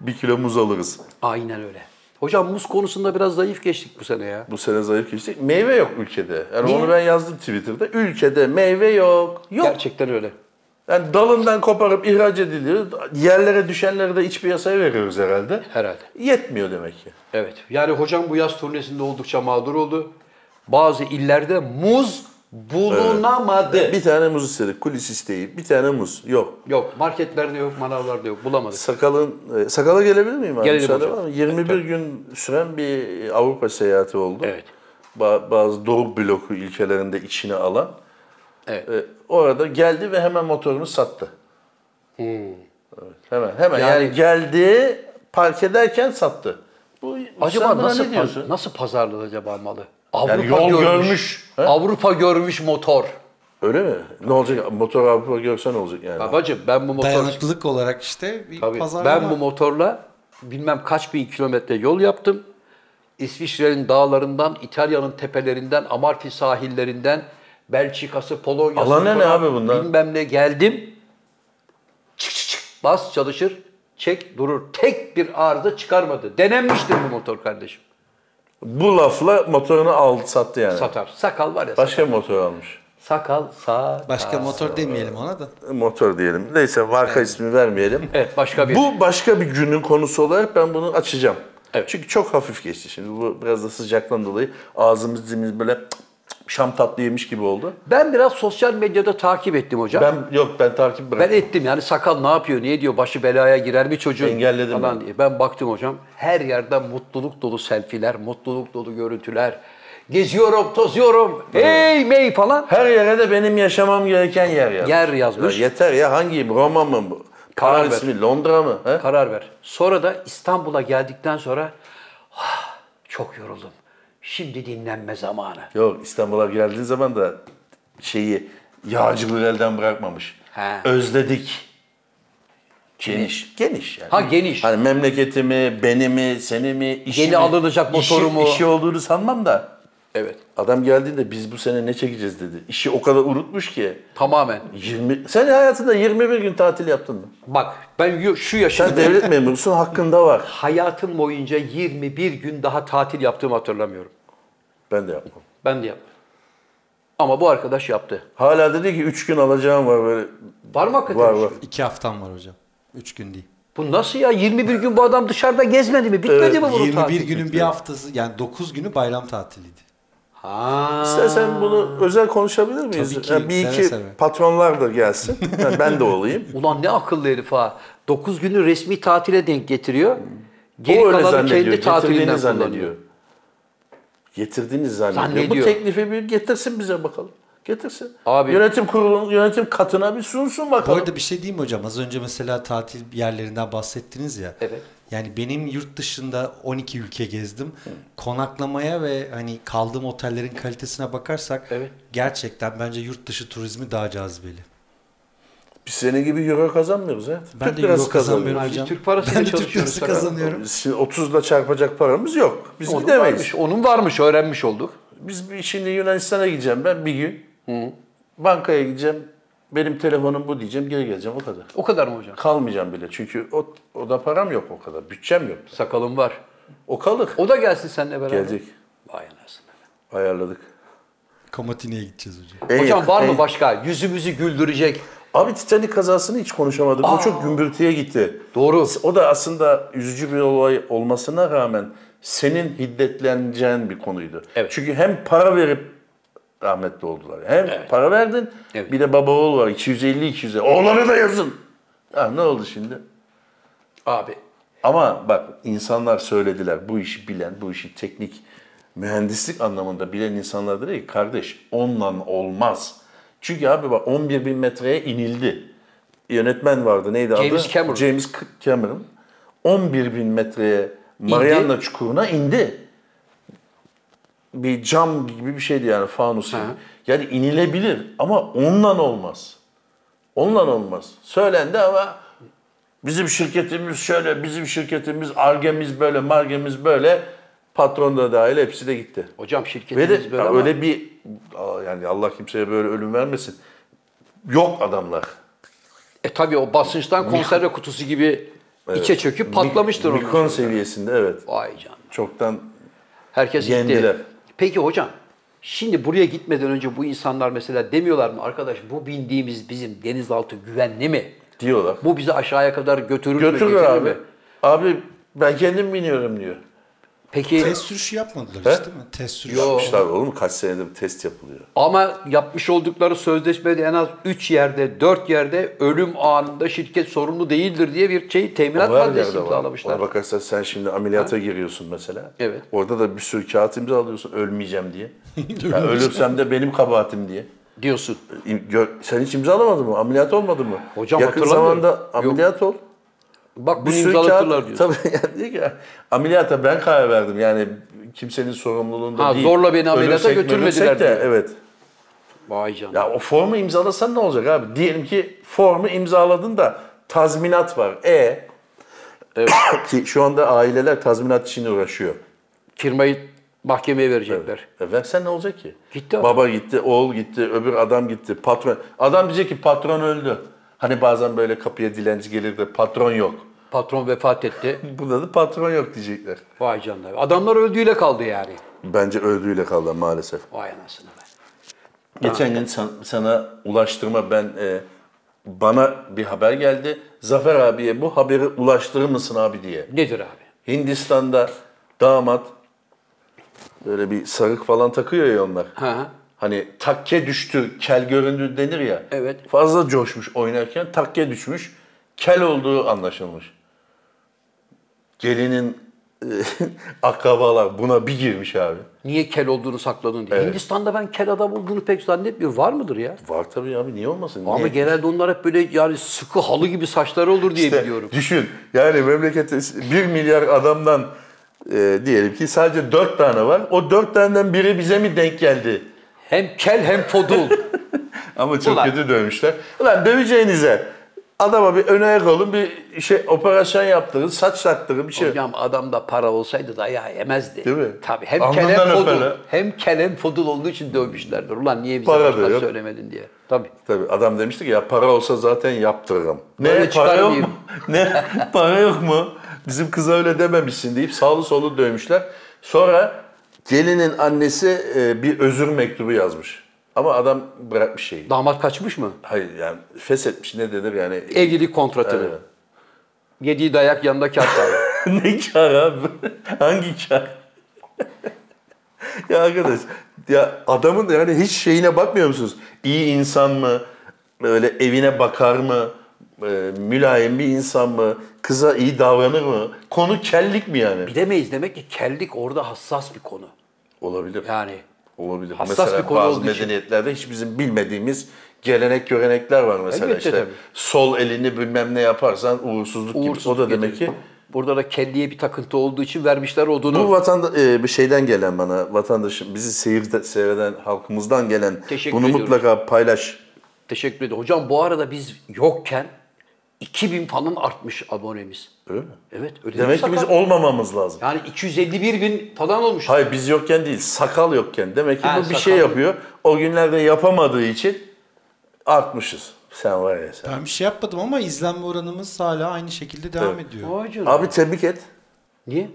Speaker 2: Bir kilo muz alırız.
Speaker 3: Aynen öyle. Hocam muz konusunda biraz zayıf geçtik bu sene ya.
Speaker 2: Bu sene zayıf geçtik. Meyve yok ülkede. Yani
Speaker 3: Niye?
Speaker 2: onu ben yazdım Twitter'da. Ülkede meyve yok. Yok.
Speaker 3: Gerçekten öyle.
Speaker 2: Yani dalından koparıp ihraç ediliyor. Yerlere düşenleri de iç piyasaya veriyoruz herhalde.
Speaker 3: Herhalde.
Speaker 2: Yetmiyor demek ki.
Speaker 3: Evet. Yani hocam bu yaz turnesinde oldukça mağdur oldu. Bazı illerde muz bulunamadı.
Speaker 2: Bir tane muz istedik. Kulis isteği. Bir tane muz. Yok.
Speaker 3: Yok marketlerde yok, manavlarda yok. Bulamadık.
Speaker 2: Sakalın e, sakala gelebilir miyim abi?
Speaker 3: Gelelim
Speaker 2: Müsaade
Speaker 3: hocam.
Speaker 2: var mı? 21 gün süren bir Avrupa seyahati oldu.
Speaker 3: Evet.
Speaker 2: Ba- bazı Doğu bloku ülkelerinde içine alan.
Speaker 3: Evet.
Speaker 2: E, orada geldi ve hemen motorunu sattı. Evet, hemen hemen yani,
Speaker 3: Hmm. Yani-
Speaker 2: geldi park ederken sattı. Bu sen
Speaker 3: Acaba
Speaker 2: buna
Speaker 3: nasıl
Speaker 2: ne
Speaker 3: pa-
Speaker 2: diyorsun?
Speaker 3: nasıl pazarladı acaba malı? Avrupa
Speaker 2: yol
Speaker 3: görmüş.
Speaker 2: görmüş, he?
Speaker 3: Avrupa görmüş motor.
Speaker 2: Öyle mi? Ne olacak? Motor Avrupa görse ne olacak yani?
Speaker 3: Babacım ben bu motor
Speaker 4: Dayanıklılık olarak işte bir
Speaker 3: Tabii.
Speaker 4: pazarlama.
Speaker 3: Ben bu motorla bilmem kaç bin kilometre yol yaptım. İsviçre'nin dağlarından, İtalya'nın tepelerinden, Amalfi sahillerinden, Belçika'sı, Polonya'sı.
Speaker 2: Alana ne
Speaker 3: falan
Speaker 2: abi bunlar?
Speaker 3: Bilmem ne geldim. Çık çık çık bas çalışır, çek durur. Tek bir arıza çıkarmadı. Denenmiştir bu motor kardeşim.
Speaker 2: Bu lafla motorunu aldı sattı yani.
Speaker 3: Satar. Sakal var ya.
Speaker 2: Başka bir motor almış.
Speaker 3: Sakal satar.
Speaker 4: Başka motor demeyelim ona da.
Speaker 2: Motor diyelim. Neyse marka ismi vermeyelim.
Speaker 3: Evet başka bir.
Speaker 2: Bu başka bir günün konusu olarak ben bunu açacağım.
Speaker 3: Evet.
Speaker 2: Çünkü çok hafif geçti şimdi. Bu biraz da sıcaktan dolayı ağzımız dilimiz böyle şam tatlı yemiş gibi oldu.
Speaker 3: Ben biraz sosyal medyada takip ettim hocam.
Speaker 2: Ben yok ben takip
Speaker 3: Ben
Speaker 2: bıraktım.
Speaker 3: ettim yani sakal ne yapıyor, niye diyor, başı belaya girer mi çocuğun
Speaker 2: Engelledim
Speaker 3: falan
Speaker 2: ben.
Speaker 3: diye. Ben baktım hocam her yerde mutluluk dolu selfiler, mutluluk dolu görüntüler. Geziyorum, tozuyorum, hey mey falan.
Speaker 2: Her yere de benim yaşamam gereken yer yazmış.
Speaker 3: Yer yazmış.
Speaker 2: Ya yeter ya hangi Roma mı bu?
Speaker 3: Karar
Speaker 2: Paris
Speaker 3: ver.
Speaker 2: mi Londra mı? He?
Speaker 3: Karar ver. Sonra da İstanbul'a geldikten sonra "Ah, çok yoruldum. Şimdi dinlenme zamanı.
Speaker 2: Yok İstanbul'a geldiğin zaman da şeyi yağcılığı elden bırakmamış.
Speaker 3: He.
Speaker 2: Özledik. Geniş. Geniş yani.
Speaker 3: Ha, geniş.
Speaker 2: Hani memleketimi, benimi, senimi, işimi.
Speaker 3: Yeni alınacak
Speaker 2: işi-
Speaker 3: motorumu.
Speaker 2: işi olduğunu sanmam da.
Speaker 3: Evet.
Speaker 2: Adam geldiğinde biz bu sene ne çekeceğiz dedi. İşi o kadar unutmuş ki.
Speaker 3: Tamamen.
Speaker 2: 20 Sen hayatında 21 gün tatil yaptın mı?
Speaker 3: Bak ben yo- şu yaşımda
Speaker 2: Sen devlet memurusun hakkında var.
Speaker 3: hayatım boyunca 21 gün daha tatil yaptığımı hatırlamıyorum.
Speaker 2: Ben de yapmam.
Speaker 3: Ben de yapmadım. Ama bu arkadaş yaptı.
Speaker 2: Hala dedi ki 3 gün alacağım var böyle.
Speaker 3: Var mı hakikaten? şey?
Speaker 2: Var
Speaker 3: üç
Speaker 2: var.
Speaker 3: gün?
Speaker 4: İki haftam var hocam. Üç gün değil.
Speaker 3: Bu nasıl ya? 21 gün bu adam dışarıda gezmedi mi? Bitmedi mi bunun
Speaker 4: 21
Speaker 3: tatili?
Speaker 4: günün bir haftası yani 9 günü bayram tatiliydi.
Speaker 3: Ha.
Speaker 2: İstersen bunu özel konuşabilir miyiz?
Speaker 4: Tabii ki,
Speaker 2: Yani bir
Speaker 4: seve
Speaker 2: iki
Speaker 4: seve.
Speaker 2: patronlar da gelsin. Ha, ben de olayım.
Speaker 3: Ulan ne akıllı herif ha. 9 günü resmi tatile denk getiriyor. Geri
Speaker 2: o öyle
Speaker 3: kalanı
Speaker 2: zannediyor.
Speaker 3: kendi tatilinden
Speaker 2: getirdiğini
Speaker 3: kullanıyor.
Speaker 2: zannediyor. Getirdiğini zannediyor.
Speaker 3: Zannediyor.
Speaker 2: Bu teklifi bir getirsin bize bakalım. Getirsin.
Speaker 3: Abi-
Speaker 2: Yönetim kurulunun yönetim katına bir sunsun
Speaker 4: Bu
Speaker 2: bakalım.
Speaker 4: arada bir şey diyeyim mi hocam? Az önce mesela tatil yerlerinden bahsettiniz ya.
Speaker 3: Evet.
Speaker 4: Yani benim yurt dışında 12 ülke gezdim. Konaklamaya ve hani kaldığım otellerin kalitesine bakarsak
Speaker 3: Evet.
Speaker 4: gerçekten bence yurt dışı turizmi daha cazibeli.
Speaker 2: Biz senin gibi euro kazanmıyoruz ha.
Speaker 4: Ben de
Speaker 2: lirası
Speaker 4: euro kazanmıyorum
Speaker 3: Biz
Speaker 4: hocam.
Speaker 3: Türk parasıyla
Speaker 4: ben de Türk
Speaker 3: çalışıyoruz
Speaker 4: lirası
Speaker 3: herhalde.
Speaker 4: kazanıyorum.
Speaker 2: Biz Şimdi 30'la çarpacak paramız yok. Biz
Speaker 3: Onun
Speaker 2: gidemeyiz.
Speaker 3: varmış, onun varmış öğrenmiş olduk.
Speaker 2: Biz bir- şimdi Yunanistan'a gideceğim ben bir gün. Bankaya gideceğim. Benim telefonum bu diyeceğim. Geri geleceğim o kadar.
Speaker 3: O kadar mı hocam?
Speaker 2: Kalmayacağım bile. Çünkü o, o da param yok o kadar. Bütçem yok.
Speaker 3: Sakalım var.
Speaker 2: O kalır.
Speaker 3: O da gelsin seninle beraber.
Speaker 2: Gelecek.
Speaker 3: Vay anasını.
Speaker 2: Ayarladık.
Speaker 4: Kamatineye gideceğiz hocam.
Speaker 2: En
Speaker 3: Hocam
Speaker 2: yakın-
Speaker 3: var
Speaker 2: en-
Speaker 3: mı başka? Yüzümüzü güldürecek.
Speaker 2: Abi Titanic kazasını hiç konuşamadık. O çok gümbürtüye gitti.
Speaker 3: Doğru.
Speaker 2: O da aslında üzücü bir olay olmasına rağmen senin hiddetleneceğin bir konuydu.
Speaker 3: Evet.
Speaker 2: Çünkü hem para verip rahmetli oldular. Hem para verdin
Speaker 3: Evet.
Speaker 2: bir de baba oğul var 250 200. Oğlanı da yazın. Ha, ne oldu şimdi?
Speaker 3: Abi
Speaker 2: Ama bak insanlar söylediler bu işi bilen, bu işi teknik mühendislik anlamında bilen insanlar dedi ki kardeş onunla olmaz. Çünkü abi bak 11 bin metreye inildi. Yönetmen vardı neydi adı?
Speaker 3: James Cameron.
Speaker 2: James C- Cameron. 11 bin metreye Mariana Çukuru'na indi. Bir cam gibi bir şeydi yani fanus gibi. Yani inilebilir ama onunla olmaz. Onunla olmaz. Söylendi ama Bizim şirketimiz şöyle, bizim şirketimiz argemiz böyle, margemiz böyle. Patron da dahil hepsi de gitti.
Speaker 3: hocam
Speaker 2: Ve
Speaker 3: şirketimiz
Speaker 2: de
Speaker 3: böyle ama-
Speaker 2: öyle bir Aa, yani Allah kimseye böyle ölüm vermesin. Yok adamlar.
Speaker 3: E tabii o basınçtan konserve kutusu gibi içe çöküp patlamıştır onun.
Speaker 2: Mikron seviyesinde evet.
Speaker 3: Vay canına.
Speaker 2: Çoktan
Speaker 3: Herkes
Speaker 2: Yendiler.
Speaker 3: gitti. Peki hocam, şimdi buraya gitmeden önce bu insanlar mesela demiyorlar mı arkadaş bu bindiğimiz bizim denizaltı güvenli mi?
Speaker 2: diyorlar.
Speaker 3: Bu bizi aşağıya kadar götürür mü?
Speaker 2: Götürür
Speaker 3: getirir
Speaker 2: abi.
Speaker 3: mi?
Speaker 2: Abi ben kendim biniyorum diyor. E,
Speaker 3: Peki
Speaker 4: Test sürüşü yapmadılar hiç değil mi? Test sürüşü.
Speaker 3: Yok.
Speaker 2: Yapmışlar oğlum kaç senedir test yapılıyor.
Speaker 3: ama yapmış oldukları sözleşmede en az 3 yerde, 4 yerde ölüm anında şirket sorumlu değildir diye bir şey teminat
Speaker 2: Var
Speaker 3: maddesi
Speaker 2: yerde var.
Speaker 3: imzalamışlar.
Speaker 2: Ona bakarsan sen şimdi ameliyata giriyorsun mesela.
Speaker 3: Evet.
Speaker 2: Orada da bir sürü kağıt imzalıyorsun ölmeyeceğim diye. ya ölürsem de benim kabahatim diye.
Speaker 3: Diyorsun.
Speaker 2: İm- gör- Sen hiç imzalamadın mı? Ameliyat olmadın mı?
Speaker 3: Hocam
Speaker 2: Yakın
Speaker 3: hatırlamıyorum.
Speaker 2: zamanda ameliyat ol.
Speaker 3: Bak
Speaker 2: Bir
Speaker 3: bunu
Speaker 2: sürü
Speaker 3: imzalatırlar
Speaker 2: kağıt.
Speaker 3: diyorsun.
Speaker 2: Tabii yani diyor ki ameliyata ben karar verdim. Yani kimsenin sorumluluğunda
Speaker 3: Ha,
Speaker 2: değil.
Speaker 3: zorla beni ameliyata
Speaker 2: Ölürsek mi
Speaker 3: götürmediler
Speaker 2: ölürsek de,
Speaker 3: diyor.
Speaker 2: Evet.
Speaker 3: Vay canına.
Speaker 2: Ya o formu imzalasan ne olacak abi? Diyelim ki formu imzaladın da tazminat var. E ki şu anda aileler tazminat için uğraşıyor.
Speaker 3: Firmayı mahkemeye verecekler.
Speaker 2: E versen ne olacak ki?
Speaker 3: Gitti adam.
Speaker 2: Baba gitti, oğul gitti, öbür adam gitti, patron. Adam diyecek ki patron öldü. Hani bazen böyle kapıya dilenci gelir de patron yok.
Speaker 3: Patron vefat etti.
Speaker 2: Burada da patron yok diyecekler.
Speaker 3: Vay canına. Adamlar öldüğüyle kaldı yani.
Speaker 2: Bence öldüğüyle kaldı maalesef.
Speaker 3: Vay anasını be.
Speaker 2: Geçen gün san- sana ulaştırma ben e, bana bir haber geldi. Zafer abiye bu haberi ulaştırır mısın abi diye.
Speaker 3: Nedir abi?
Speaker 2: Hindistan'da damat böyle bir sarık falan takıyor ya onlar.
Speaker 3: Ha.
Speaker 2: Hani takke düştü, kel göründü denir ya.
Speaker 3: Evet.
Speaker 2: Fazla coşmuş oynarken takke düşmüş, kel olduğu anlaşılmış. Gelinin e, akrabalar buna bir girmiş abi.
Speaker 3: Niye kel olduğunu sakladın diye.
Speaker 2: Evet.
Speaker 3: Hindistan'da ben kel adam olduğunu pek zannetmiyorum. Var mıdır ya?
Speaker 2: Var tabii abi niye olmasın?
Speaker 3: Ama
Speaker 2: Niye?
Speaker 3: genelde onlar hep böyle yani sıkı halı gibi saçları olur diye
Speaker 2: İşte
Speaker 3: biliyorum.
Speaker 2: Düşün yani memlekette 1 milyar adamdan e, diyelim ki sadece 4 tane var. O 4 taneden biri bize mi denk geldi?
Speaker 3: Hem kel hem fodul.
Speaker 2: Ama çok
Speaker 3: Ulan.
Speaker 2: kötü dövmüşler. Ulan döveceğinize Adama bir öne ayak olun bir şey operasyon yaptırın, saç taktırın bir şey.
Speaker 3: Hocam adamda para olsaydı dayağı yemezdi.
Speaker 2: Değil mi?
Speaker 3: Tabii. Hem
Speaker 2: Alnından
Speaker 3: Kenan Fodul,
Speaker 2: öperler.
Speaker 3: hem Kenan Fodul olduğu için dövmüşlerdir. Ulan niye bize
Speaker 2: Para da
Speaker 3: baştan
Speaker 2: yok.
Speaker 3: söylemedin diye. Tabii.
Speaker 2: Tabii adam demişti ki ya para olsa zaten yaptırırım.
Speaker 3: Böyle
Speaker 2: Ne para yok mu?
Speaker 3: çıkarmayayım.
Speaker 2: ne para yok mu? Bizim kıza öyle dememişsin deyip sağlı solu dövmüşler. Sonra gelinin annesi e, bir özür mektubu yazmış. Ama adam bırakmış şeyi.
Speaker 3: Damat kaçmış mı?
Speaker 2: Hayır yani feshetmiş ne denir yani.
Speaker 3: Evlilik kontratını.
Speaker 2: Evet.
Speaker 3: Yediği dayak yanındaki hatta.
Speaker 2: ne kar abi? Hangi kar? ya arkadaş ya adamın yani hiç şeyine bakmıyor musunuz? İyi insan mı? Böyle evine bakar mı? Ee, mülayim bir insan mı? Kıza iyi davranır mı? Konu kellik mi yani?
Speaker 3: Bilemeyiz demek ki kellik orada hassas bir konu.
Speaker 2: Olabilir.
Speaker 3: Yani
Speaker 2: Olabilir.
Speaker 3: Hassas
Speaker 2: mesela
Speaker 3: bir konu
Speaker 2: bazı
Speaker 3: olduğu için.
Speaker 2: medeniyetlerde hiç bizim bilmediğimiz gelenek görenekler var mesela
Speaker 3: Elbette
Speaker 2: işte.
Speaker 3: tabii.
Speaker 2: Sol elini bilmem ne yaparsan uğursuzluk, gibi. O da
Speaker 3: uğursuzluk
Speaker 2: demek
Speaker 3: getiriyor.
Speaker 2: ki
Speaker 3: Burada da kelliye bir takıntı olduğu için vermişler odunu.
Speaker 2: Bu vatanda e, bir şeyden gelen bana vatandaşım bizi seyirde seyreden halkımızdan gelen
Speaker 3: Teşekkür
Speaker 2: bunu
Speaker 3: ediyoruz.
Speaker 2: mutlaka paylaş.
Speaker 3: Teşekkür ederim. Hocam bu arada biz yokken 2000 falan artmış abonemiz.
Speaker 2: Öyle mi?
Speaker 3: Evet öyle
Speaker 2: Demek
Speaker 3: değil
Speaker 2: ki
Speaker 3: mi
Speaker 2: biz
Speaker 3: Sakar?
Speaker 2: olmamamız lazım.
Speaker 3: Yani 251 bin falan olmuş.
Speaker 2: Hayır biz yokken değil, sakal yokken. Demek ki
Speaker 3: Ha,
Speaker 2: bu bir
Speaker 3: sakal
Speaker 2: şey
Speaker 3: yok.
Speaker 2: yapıyor. O günlerde yapamadığı için artmışız. Sen var ya sen.
Speaker 4: Ben bir şey yapmadım ama izlenme oranımız hala aynı şekilde devam
Speaker 2: Evet.
Speaker 4: ediyor.
Speaker 3: Vay canına.
Speaker 2: Abi tebrik et.
Speaker 3: Niye?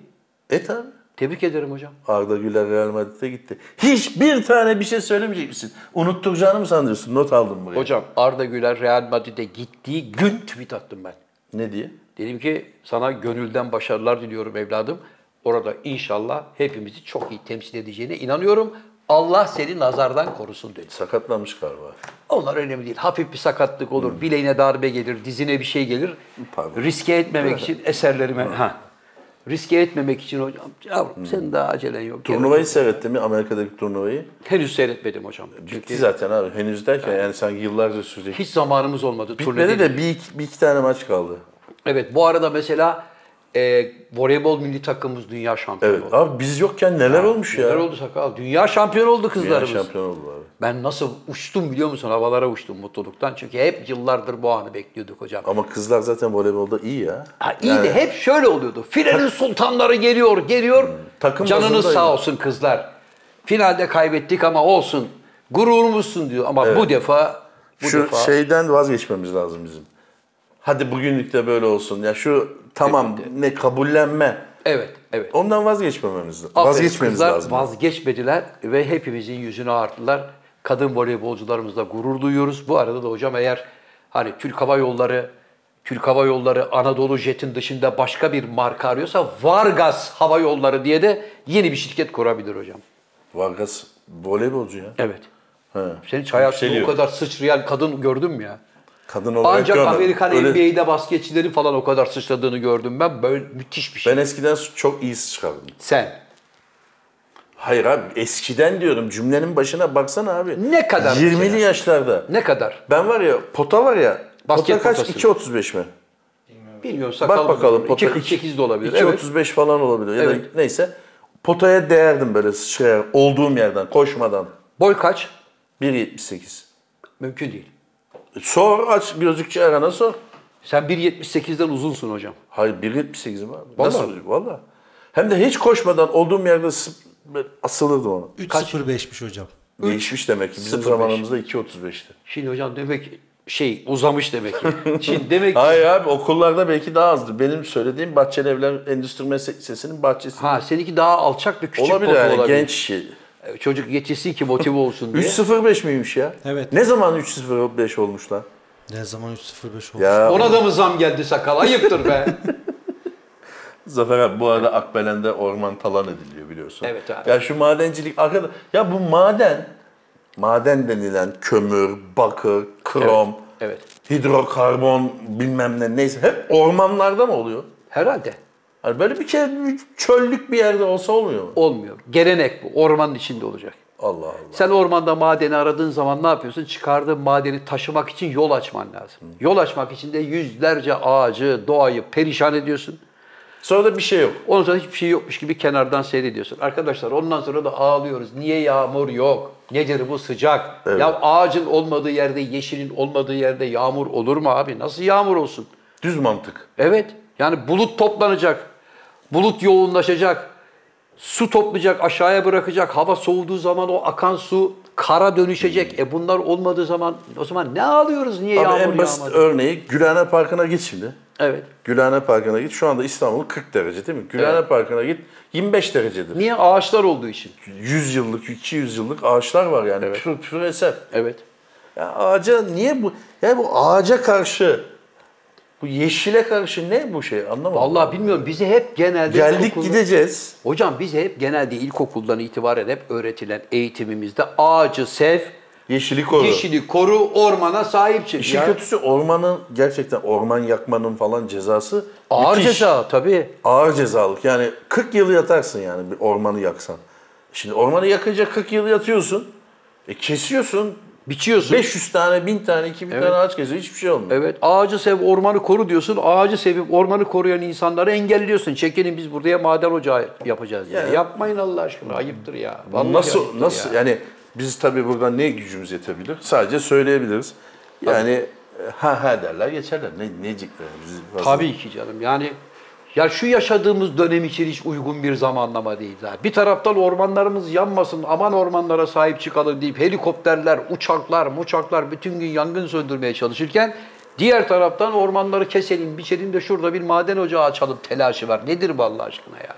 Speaker 2: Et abi.
Speaker 3: Tebrik ederim hocam.
Speaker 2: Arda Güler Real Madrid'e gitti. Hiçbir tane bir şey söylemeyecek misin? Unutturacağını mı sanıyorsun? Not aldım buraya.
Speaker 3: Hocam Arda Güler Real Madrid'e gittiği gün tweet attım ben.
Speaker 2: Ne diye?
Speaker 3: Dedim ki sana gönülden başarılar diliyorum evladım. Orada inşallah hepimizi çok iyi temsil edeceğine inanıyorum. Allah seni nazardan korusun dedi.
Speaker 2: Sakatlanmış galiba.
Speaker 3: Onlar önemli değil. Hafif bir sakatlık olur, bileğine darbe gelir, dizine bir şey gelir.
Speaker 2: Hmm. Pardon.
Speaker 3: Riske etmemek için eserlerime... Ha. Riske etmemek için hocam, yavrum
Speaker 2: Hmm.
Speaker 3: senin daha acelen yok.
Speaker 2: Turnuvayı seyrettin mi? Amerika'daki turnuvayı.
Speaker 3: Henüz seyretmedim hocam.
Speaker 2: Bitti zaten abi. Henüz derken yani, sanki yıllarca sürecek.
Speaker 3: Hiç zamanımız olmadı.
Speaker 2: Bitmedi
Speaker 3: turnede
Speaker 2: de bir iki, bir iki tane maç kaldı.
Speaker 3: Evet bu arada mesela e, voleybol milli takımımız dünya şampiyonu
Speaker 2: Evet.
Speaker 3: oldu.
Speaker 2: Abi biz yokken neler olmuş ya?
Speaker 3: Neler oldu sakal? Dünya şampiyonu oldu
Speaker 2: Dünya
Speaker 3: kızlarımız.
Speaker 2: şampiyon oldu abi.
Speaker 3: Ben nasıl uçtum biliyor musun? Havalara uçtum mutluluktan. Çünkü hep yıllardır bu anı bekliyorduk hocam.
Speaker 2: Ama kızlar zaten voleybolda iyi ya.
Speaker 3: Ha, iyi de hep şöyle oluyordu. Filenin sultanları geliyor, geliyor.
Speaker 2: Hmm, Takım
Speaker 3: Canınız
Speaker 2: bazındaydı.
Speaker 3: sağ olsun kızlar. Finalde kaybettik ama olsun. Gururumuzsun diyor. Ama bu defa bu
Speaker 2: şu şey-
Speaker 3: defa
Speaker 2: şeyden vazgeçmemiz lazım bizim. Hadi bugünlük de böyle olsun. Ya şu tamam ne kabullenme.
Speaker 3: evet, evet.
Speaker 2: Ondan vazgeçmememiz lazım.
Speaker 3: Aferin
Speaker 2: Vazgeçmemiz
Speaker 3: kızlar
Speaker 2: lazım.
Speaker 3: vazgeçmediler ve hepimizin yüzünü arttılar. Kadın voleybolcularımızla gurur duyuyoruz. Bu arada da hocam eğer hani Türk Hava Yolları, Türk Hava Yolları Anadolu Jet'in dışında başka bir marka arıyorsa Vargas Hava Yolları diye de yeni bir şirket kurabilir hocam.
Speaker 2: Vargas voleybolcu ya.
Speaker 3: Evet.
Speaker 2: He.
Speaker 3: Sen hiç hayatında o
Speaker 2: Yükseliyor.
Speaker 3: kadar sıçrayan kadın gördün mü ya?
Speaker 2: Kadın olarak
Speaker 3: Ancak
Speaker 2: görmedim.
Speaker 3: Amerikan
Speaker 2: Öyle-
Speaker 3: NBA'de basketçileri falan o kadar sıçradığını gördüm ben. Böyle müthiş bir şey.
Speaker 2: Ben eskiden çok iyi çıkardım.
Speaker 3: Sen.
Speaker 2: Hayır abi eskiden diyorum cümlenin başına baksana abi.
Speaker 3: Ne kadar
Speaker 2: 20'li
Speaker 3: mesela?
Speaker 2: yaşlarda.
Speaker 3: Ne kadar?
Speaker 2: Ben var ya pota var ya.
Speaker 3: Basket
Speaker 2: pota kaç?
Speaker 3: potası.
Speaker 2: 2.35 mi?
Speaker 3: Bilmiyorum
Speaker 2: Bak
Speaker 3: sakal.
Speaker 2: bakalım pota
Speaker 3: 2.48 de olabilir. evet.
Speaker 2: 2.35 falan olabilir ya da
Speaker 3: Evet.
Speaker 2: neyse. Potaya değerdim böyle sıçrayarak olduğum yerden koşmadan.
Speaker 3: Boy kaç?
Speaker 2: 1.78.
Speaker 3: Mümkün değil.
Speaker 2: E, Sor aç gözlükçü Erhan'a sor.
Speaker 3: Sen 1.78'den uzunsun hocam.
Speaker 2: Hayır 1.78 mi abi?
Speaker 3: Vallahi.
Speaker 2: Nasıl? Valla. Hem de hiç koşmadan olduğum yerde sıp- asılırdım ona.
Speaker 4: 3.05'miş hocam.
Speaker 2: Değişmiş demek ki. Bizim
Speaker 3: 0.5.
Speaker 2: zamanımızda 2.35'ti.
Speaker 3: Şimdi hocam demek ki şey uzamış demek ki. Şimdi demek ki
Speaker 2: Hayır abi okullarda belki daha azdır. Benim söylediğim Bahçeli Evler Endüstri Meslek Lisesi'nin bahçesi.
Speaker 3: ha seninki daha alçak ve küçük
Speaker 2: olabilir
Speaker 3: botu
Speaker 2: yani
Speaker 3: olabilir.
Speaker 2: genç şey.
Speaker 3: E, Çocuk yetişsin ki motive olsun diye.
Speaker 2: 3.05 miymiş ya?
Speaker 4: Evet.
Speaker 2: Ne zaman 3.05 olmuş lan?
Speaker 4: Ne zaman 3.05 oldu?
Speaker 2: Ya
Speaker 3: Ona da mı zam geldi sakal? Ayıptır be.
Speaker 2: Zafer abi bu arada Akbelen'de orman talan ediliyor biliyorsun.
Speaker 3: Evet abi.
Speaker 2: Ya şu madencilik arkada ya bu maden maden denilen kömür, bakır, krom,
Speaker 3: evet.
Speaker 2: hidrokarbon bilmem ne neyse hep ormanlarda mı oluyor?
Speaker 3: Herhalde.
Speaker 2: Hani böyle bir kere bir çöllük bir yerde olsa olmuyor mu?
Speaker 3: Olmuyor. Gelenek bu. Ormanın içinde olacak.
Speaker 2: Allah Allah.
Speaker 3: Sen ormanda madeni aradığın zaman ne yapıyorsun? Çıkardığın madeni taşımak için yol açman lazım. Yol açmak için de yüzlerce ağacı, doğayı perişan ediyorsun.
Speaker 2: Sonra da bir şey yok.
Speaker 3: Ondan sonra hiçbir şey yokmuş gibi kenardan seyrediyorsun. Arkadaşlar ondan sonra da ağlıyoruz. Niye yağmur yok? Nedir bu sıcak? Ya ağacın olmadığı yerde, yeşilin olmadığı yerde yağmur olur mu abi? Nasıl yağmur olsun?
Speaker 2: Düz mantık.
Speaker 3: Evet. Yani bulut toplanacak. Bulut yoğunlaşacak. Su toplayacak, aşağıya bırakacak. Hava soğuduğu zaman o akan su kara dönüşecek. E bunlar olmadığı zaman o zaman ne ağlıyoruz? Niye
Speaker 2: Hmm. Abi
Speaker 3: yağmur
Speaker 2: en basit
Speaker 3: yağmadı?
Speaker 2: örneği Gülhane Parkı'na git şimdi.
Speaker 3: Evet.
Speaker 2: Gülhane Parkı'na git. Şu anda İstanbul 40 derece değil mi? Gülhane Parkı'na git 25 derecedir.
Speaker 3: Niye ağaçlar olduğu için?
Speaker 2: 100 yıllık, 200 yıllık ağaçlar var yani. Pür, pür eser.
Speaker 3: Evet.
Speaker 2: Ya ağaca niye bu? Ya bu ağaca karşı, bu yeşile karşı ne bu şey anlamadım.
Speaker 3: Vallahi bilmiyorum. Bizi hep genelde
Speaker 2: Geldik
Speaker 3: ilkokulda-
Speaker 2: gideceğiz.
Speaker 3: Hocam biz hep genelde ilkokuldan itibaren hep öğretilen eğitimimizde ağacı sev,
Speaker 2: Yeşili koru.
Speaker 3: yeşili koru, ormana sahip çık.
Speaker 2: İşin
Speaker 3: Ya,
Speaker 2: kötüsü ormanın gerçekten orman yakmanın falan cezası
Speaker 3: Ağır
Speaker 2: müthiş.
Speaker 3: ceza tabii.
Speaker 2: Ağır cezalık. Yani 40 yıl yatarsın yani bir ormanı yaksan. Şimdi ormanı yakınca 40 yıl yatıyorsun. E kesiyorsun.
Speaker 3: Biçiyorsun.
Speaker 2: 500 tane, 1000 tane, 2000 tane ağaç kesiyor. Hiçbir şey olmuyor.
Speaker 3: Evet. Ağacı sev, ormanı koru diyorsun. Ağacı sevip ormanı koruyan insanları engelliyorsun. Çekilin biz buraya maden ocağı yapacağız diye.
Speaker 2: Ya.
Speaker 3: Yapmayın Allah aşkına. Ayıptır ya. Vallahi ayıptır
Speaker 2: nasıl nasıl
Speaker 3: ya.
Speaker 2: yani biz tabii buradan ne gücümüz yetebilir? Sadece söyleyebiliriz. Yani e, ha ha derler geçerler. Ne ne diyecekler bizi fazla-
Speaker 3: Tabii ki canım. Yani ya şu yaşadığımız dönem için hiç uygun bir zamanlama değil. zaten. Bir taraftan ormanlarımız yanmasın, aman ormanlara sahip çıkalım deyip helikopterler, uçaklar, muçaklar bütün gün yangın söndürmeye çalışırken diğer taraftan ormanları keselim, biçelim de şurada bir maden ocağı açalım telaşı var. Nedir bu Allah aşkına ya?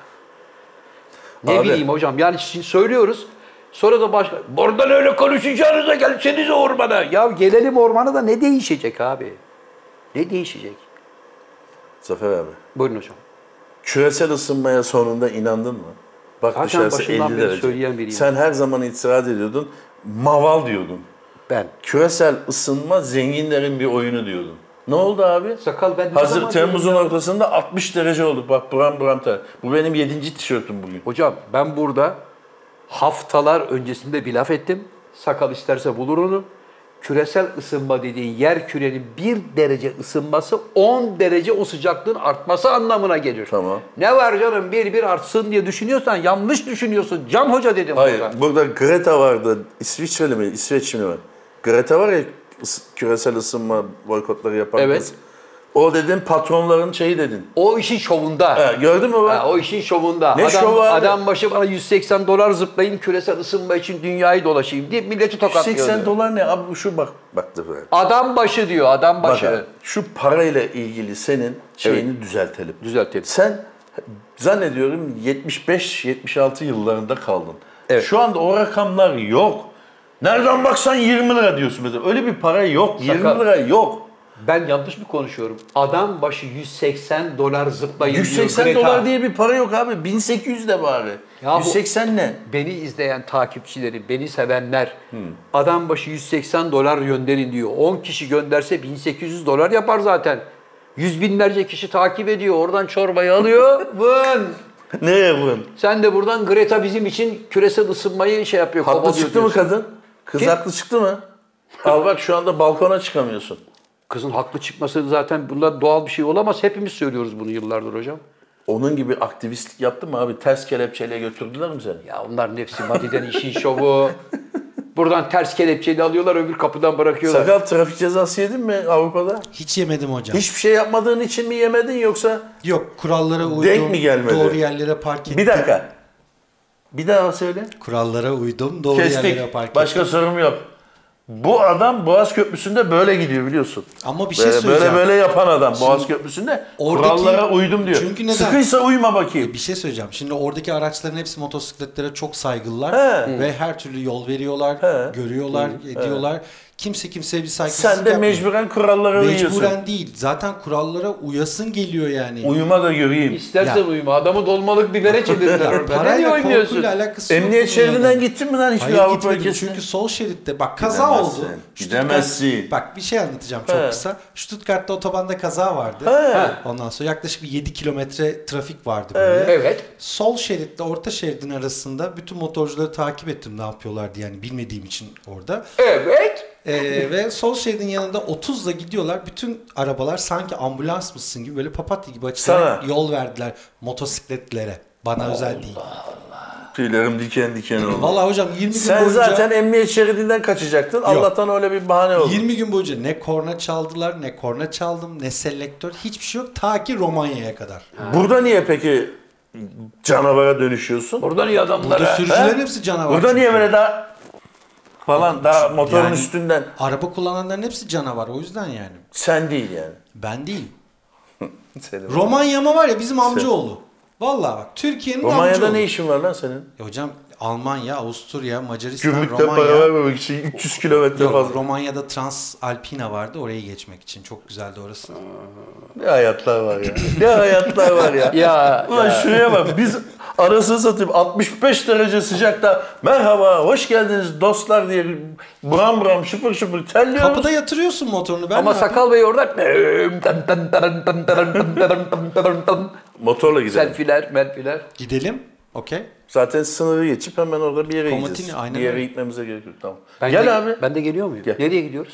Speaker 3: Ne
Speaker 2: Abi.
Speaker 3: bileyim hocam yani şimdi söylüyoruz. Sonra da başka, buradan öyle konuşacağınıza gelseniz ormana. Ya gelelim ormana da ne değişecek abi? Ne değişecek?
Speaker 2: Zafer abi.
Speaker 3: Buyurun hocam.
Speaker 2: Küresel ısınmaya sonunda inandın mı? Bak
Speaker 3: Zaten
Speaker 2: dışarısı
Speaker 3: başından
Speaker 2: 50
Speaker 3: beri
Speaker 2: derece.
Speaker 3: söyleyen biriyim.
Speaker 2: Sen her zaman itiraz ediyordun. Maval diyordun.
Speaker 3: Ben.
Speaker 2: Küresel ısınma zenginlerin bir oyunu diyordun. Ne oldu abi?
Speaker 3: Sakal ben ne
Speaker 2: Hazır
Speaker 3: zaman-
Speaker 2: Temmuz'un ortasında 60 derece olduk. Bak buram buram ter. Bu benim 7. tişörtüm bugün.
Speaker 3: Hocam ben burada haftalar öncesinde bir laf ettim. Sakal isterse bulur onu. Küresel ısınma dediğin yer kürenin bir derece ısınması 10 derece o sıcaklığın artması anlamına gelir.
Speaker 2: Tamam.
Speaker 3: Ne var canım bir bir artsın diye düşünüyorsan yanlış düşünüyorsun. Can Hoca dedim
Speaker 2: Hayır,
Speaker 3: burada.
Speaker 2: burada Greta vardı. İsviçreli mi? İsveçli mi? Greta var ya ıs- küresel ısınma boykotları yapan
Speaker 3: Evet.
Speaker 2: kız. O dedin patronların şeyi dedin.
Speaker 3: O işin şovunda.
Speaker 2: Ha, gördün mü bak?
Speaker 3: Ha, o işin şovunda.
Speaker 2: Ne
Speaker 3: adam,
Speaker 2: şovu abi?
Speaker 3: adam başı bana 180 dolar zıplayın küresel ısınma için dünyayı dolaşayım diye milleti tokatlıyordu.
Speaker 2: 80 dolar ne abi şu bak baktı böyle.
Speaker 3: Adam başı diyor, adam
Speaker 2: Bak
Speaker 3: başı.
Speaker 2: abi, şu parayla ilgili senin şeyini düzeltelim.
Speaker 3: Düzeltelim.
Speaker 2: Sen zannediyorum 75-76 yıllarında kaldın. Şu anda o rakamlar yok. Nereden baksan 20 lira diyorsun mesela. Öyle bir para yok. 20
Speaker 3: Sakal.
Speaker 2: lira yok.
Speaker 3: Ben yanlış mı konuşuyorum? Adam başı 180 dolar zıplayın diyor
Speaker 2: 180
Speaker 3: Greta.
Speaker 2: dolar diye bir para yok abi. 1800 de bari.
Speaker 3: Ya bu-
Speaker 2: 180 ne?
Speaker 3: Beni izleyen takipçileri, beni sevenler
Speaker 2: Hmm.
Speaker 3: adam başı 180 dolar gönderin diyor. 10 kişi gönderse 1800 dolar yapar zaten. Yüz binlerce kişi takip ediyor. Oradan çorbayı alıyor. Vın!
Speaker 2: Ne bunun?
Speaker 3: Sen de buradan Greta bizim için küresel ısınmayı şey yapıyor.
Speaker 2: Haklı
Speaker 3: kovalıyor
Speaker 2: çıktı mı
Speaker 3: diyorsun.
Speaker 2: kadın? Kız
Speaker 3: Kim?
Speaker 2: haklı çıktı mı? Al bak şu anda balkona çıkamıyorsun.
Speaker 3: Kızın haklı çıkması zaten bunlar doğal bir şey olamaz. Hepimiz söylüyoruz bunu yıllardır hocam.
Speaker 2: Onun gibi aktivistlik yaptın mı abi? Ters kelepçeyle götürdüler mi seni?
Speaker 3: Ya onlar nefsi madiden işin şovu. Buradan ters kelepçeyle alıyorlar, öbür kapıdan bırakıyorlar.
Speaker 2: Sakal trafik cezası yedin mi Avrupa'da?
Speaker 4: Hiç yemedim hocam.
Speaker 2: Hiçbir şey yapmadığın için mi yemedin yoksa?
Speaker 4: Yok kurallara uydum.
Speaker 2: mi gelmedi?
Speaker 4: Doğru yerlere park ettim.
Speaker 2: Bir dakika. Bir daha söyle.
Speaker 4: Kurallara uydum. Doğru yerlere
Speaker 2: Kestik.
Speaker 4: park ettim.
Speaker 2: Başka sorum yok. Bu adam Boğaz Köprüsü'nde böyle gidiyor biliyorsun.
Speaker 4: Ama bir şey
Speaker 2: Böyle, böyle
Speaker 4: söyleyeceğim.
Speaker 2: böyle yapan adam Boğaz Köprüsü'nde
Speaker 4: oradaki-
Speaker 2: kurallara uydum diyor.
Speaker 4: Çünkü neden?
Speaker 2: Sıkıysa uyma bakayım.
Speaker 4: Bir şey söyleyeceğim. Şimdi oradaki araçların hepsi motosikletlere çok saygılılar
Speaker 2: He.
Speaker 4: ve her türlü yol veriyorlar,
Speaker 2: He.
Speaker 4: görüyorlar, ediyorlar. Kimse kimseye bir saygısızlık
Speaker 2: Sen de
Speaker 4: yapmıyor.
Speaker 2: mecburen kurallara uyuyorsun.
Speaker 4: Mecburen değil. Zaten kurallara uyasın geliyor yani.
Speaker 2: Uyuma da göreyim.
Speaker 3: İstersen
Speaker 4: Ya.
Speaker 3: uyuma, adamı dolmalık bibere çevirdiler orada. Ne diye
Speaker 4: Parayla
Speaker 3: oynuyorsun?
Speaker 4: korkuyla alakası yok.
Speaker 2: Emniyet
Speaker 4: bunun yani.
Speaker 2: şeridinden gittin mi lan hiçbir
Speaker 4: şey Hayır
Speaker 2: Avrupa
Speaker 4: gitmedim
Speaker 2: ülkesine?
Speaker 4: çünkü sol şeritte bak kaza
Speaker 2: Gidemezsin,
Speaker 4: oldu.
Speaker 2: gidemezsin.
Speaker 4: Bak bir şey anlatacağım çok
Speaker 2: He.
Speaker 4: kısa. Stuttgart'ta otobanda kaza vardı.
Speaker 2: He.
Speaker 4: Ondan sonra yaklaşık bir 7 kilometre trafik vardı böyle.
Speaker 3: Evet.
Speaker 4: Sol şeritle orta şeridin arasında bütün motorcuları takip ettim ne yapıyorlar diye yani bilmediğim için orada.
Speaker 3: Evet.
Speaker 4: Ee, ve Solskjaer'in yanında 30'la gidiyorlar. Bütün arabalar sanki ambulans mısın gibi böyle papatya gibi açılarak
Speaker 2: Sana.
Speaker 4: yol verdiler motosikletlere. Bana özel değil.
Speaker 2: Tüylerim diken diken oldu.
Speaker 4: Vallahi hocam 20 gün
Speaker 2: Sen
Speaker 4: boyunca
Speaker 2: zaten emniyet şeridinden kaçacaktın. Allah'tan öyle bir bahane oldu.
Speaker 4: 20 gün boyunca ne korna çaldılar, ne korna çaldım, ne selektör, hiçbir şey yok ta ki Romanya'ya kadar.
Speaker 2: Burada niye peki canavara dönüşüyorsun?
Speaker 1: Buradan iyi
Speaker 4: Burada
Speaker 1: adamlara.
Speaker 4: sürücülerin
Speaker 2: He?
Speaker 4: hepsi canavar.
Speaker 2: Burada
Speaker 4: çünkü.
Speaker 2: niye böyle daha falan daha motorun
Speaker 4: Yani-
Speaker 2: üstünden
Speaker 4: Araba kullananların hepsi canavar o yüzden yani.
Speaker 2: sen değil yani.
Speaker 4: Ben değil.
Speaker 2: Senin.
Speaker 4: Romanya'ma var ya bizim amcaoğlu. Vallahi bak Türkiye'nin
Speaker 2: Romanya'da
Speaker 4: amcaoğlu.
Speaker 2: ne işin var lan senin?
Speaker 4: E hocam Almanya, Avusturya, Macaristan,
Speaker 2: Gümrükte
Speaker 4: Romanya.
Speaker 2: para vermemek için 300 kilometre
Speaker 4: Yok,
Speaker 2: fazla.
Speaker 4: Romanya'da Transalpina vardı oraya geçmek için. Çok güzeldi orası.
Speaker 2: Ne hayatlar var ya. Ne hayatlar var ya.
Speaker 1: Ya,
Speaker 2: Ulan şuraya bak biz arasını satayım 65 derece sıcakta merhaba hoş geldiniz dostlar diye buram buram şıpır şıpır terliyoruz.
Speaker 4: Kapıda yatırıyorsun motorunu. Ben
Speaker 1: Ama
Speaker 4: ne yapayım?
Speaker 1: Sakal Bey oradan
Speaker 2: Motorla gidelim.
Speaker 1: selfiler, melfiler.
Speaker 4: Gidelim. Okey.
Speaker 2: Zaten sınırı geçip hemen orada bir yere
Speaker 4: Komotini,
Speaker 2: gideceğiz.
Speaker 4: aynen
Speaker 2: bir yere
Speaker 4: öyle.
Speaker 2: gitmemize gerek yok tamam.
Speaker 1: Ben
Speaker 2: Gel
Speaker 1: de-
Speaker 2: abi.
Speaker 1: Ben de geliyor muyum?
Speaker 2: Gel.
Speaker 1: Nereye gidiyoruz?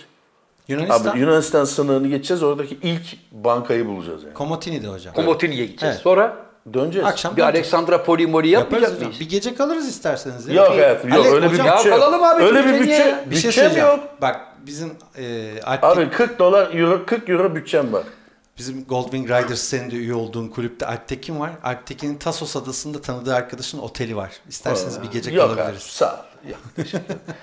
Speaker 4: Yunanistan.
Speaker 2: Abi Yunanistan sınırını geçeceğiz. Oradaki ilk bankayı bulacağız yani.
Speaker 4: Komotini'de hocam.
Speaker 3: Komotini'ye gideceğiz.
Speaker 4: Evet.
Speaker 3: Sonra
Speaker 2: Döneceğiz.
Speaker 4: Akşam
Speaker 3: bir Aleksandra Polimori yapmayacak
Speaker 4: yaparız hocam.
Speaker 3: mıyız?
Speaker 4: Bir gece kalırız isterseniz. ya.
Speaker 2: Yok hayatım yok
Speaker 4: Ale-
Speaker 2: öyle
Speaker 4: hocam,
Speaker 2: bir
Speaker 3: ya
Speaker 2: bütçe yok.
Speaker 3: kalalım abi,
Speaker 2: Öyle bir
Speaker 3: bütçe niye?
Speaker 2: bütçe,
Speaker 4: Bir şey
Speaker 2: bütçem
Speaker 4: söyleyeceğim.
Speaker 2: yok.
Speaker 4: Bak bizim e, Alp'te-
Speaker 2: Abi 40 dolar euro 40 euro bütçem var.
Speaker 4: Bizim Goldwing Riders senin de üye olduğun kulüpte Alptekin var. Alptekin'in Tasos adasında tanıdığı arkadaşın oteli var. İsterseniz bir gece
Speaker 2: Yok abi
Speaker 4: kalabiliriz.
Speaker 2: sağ ol. Yok.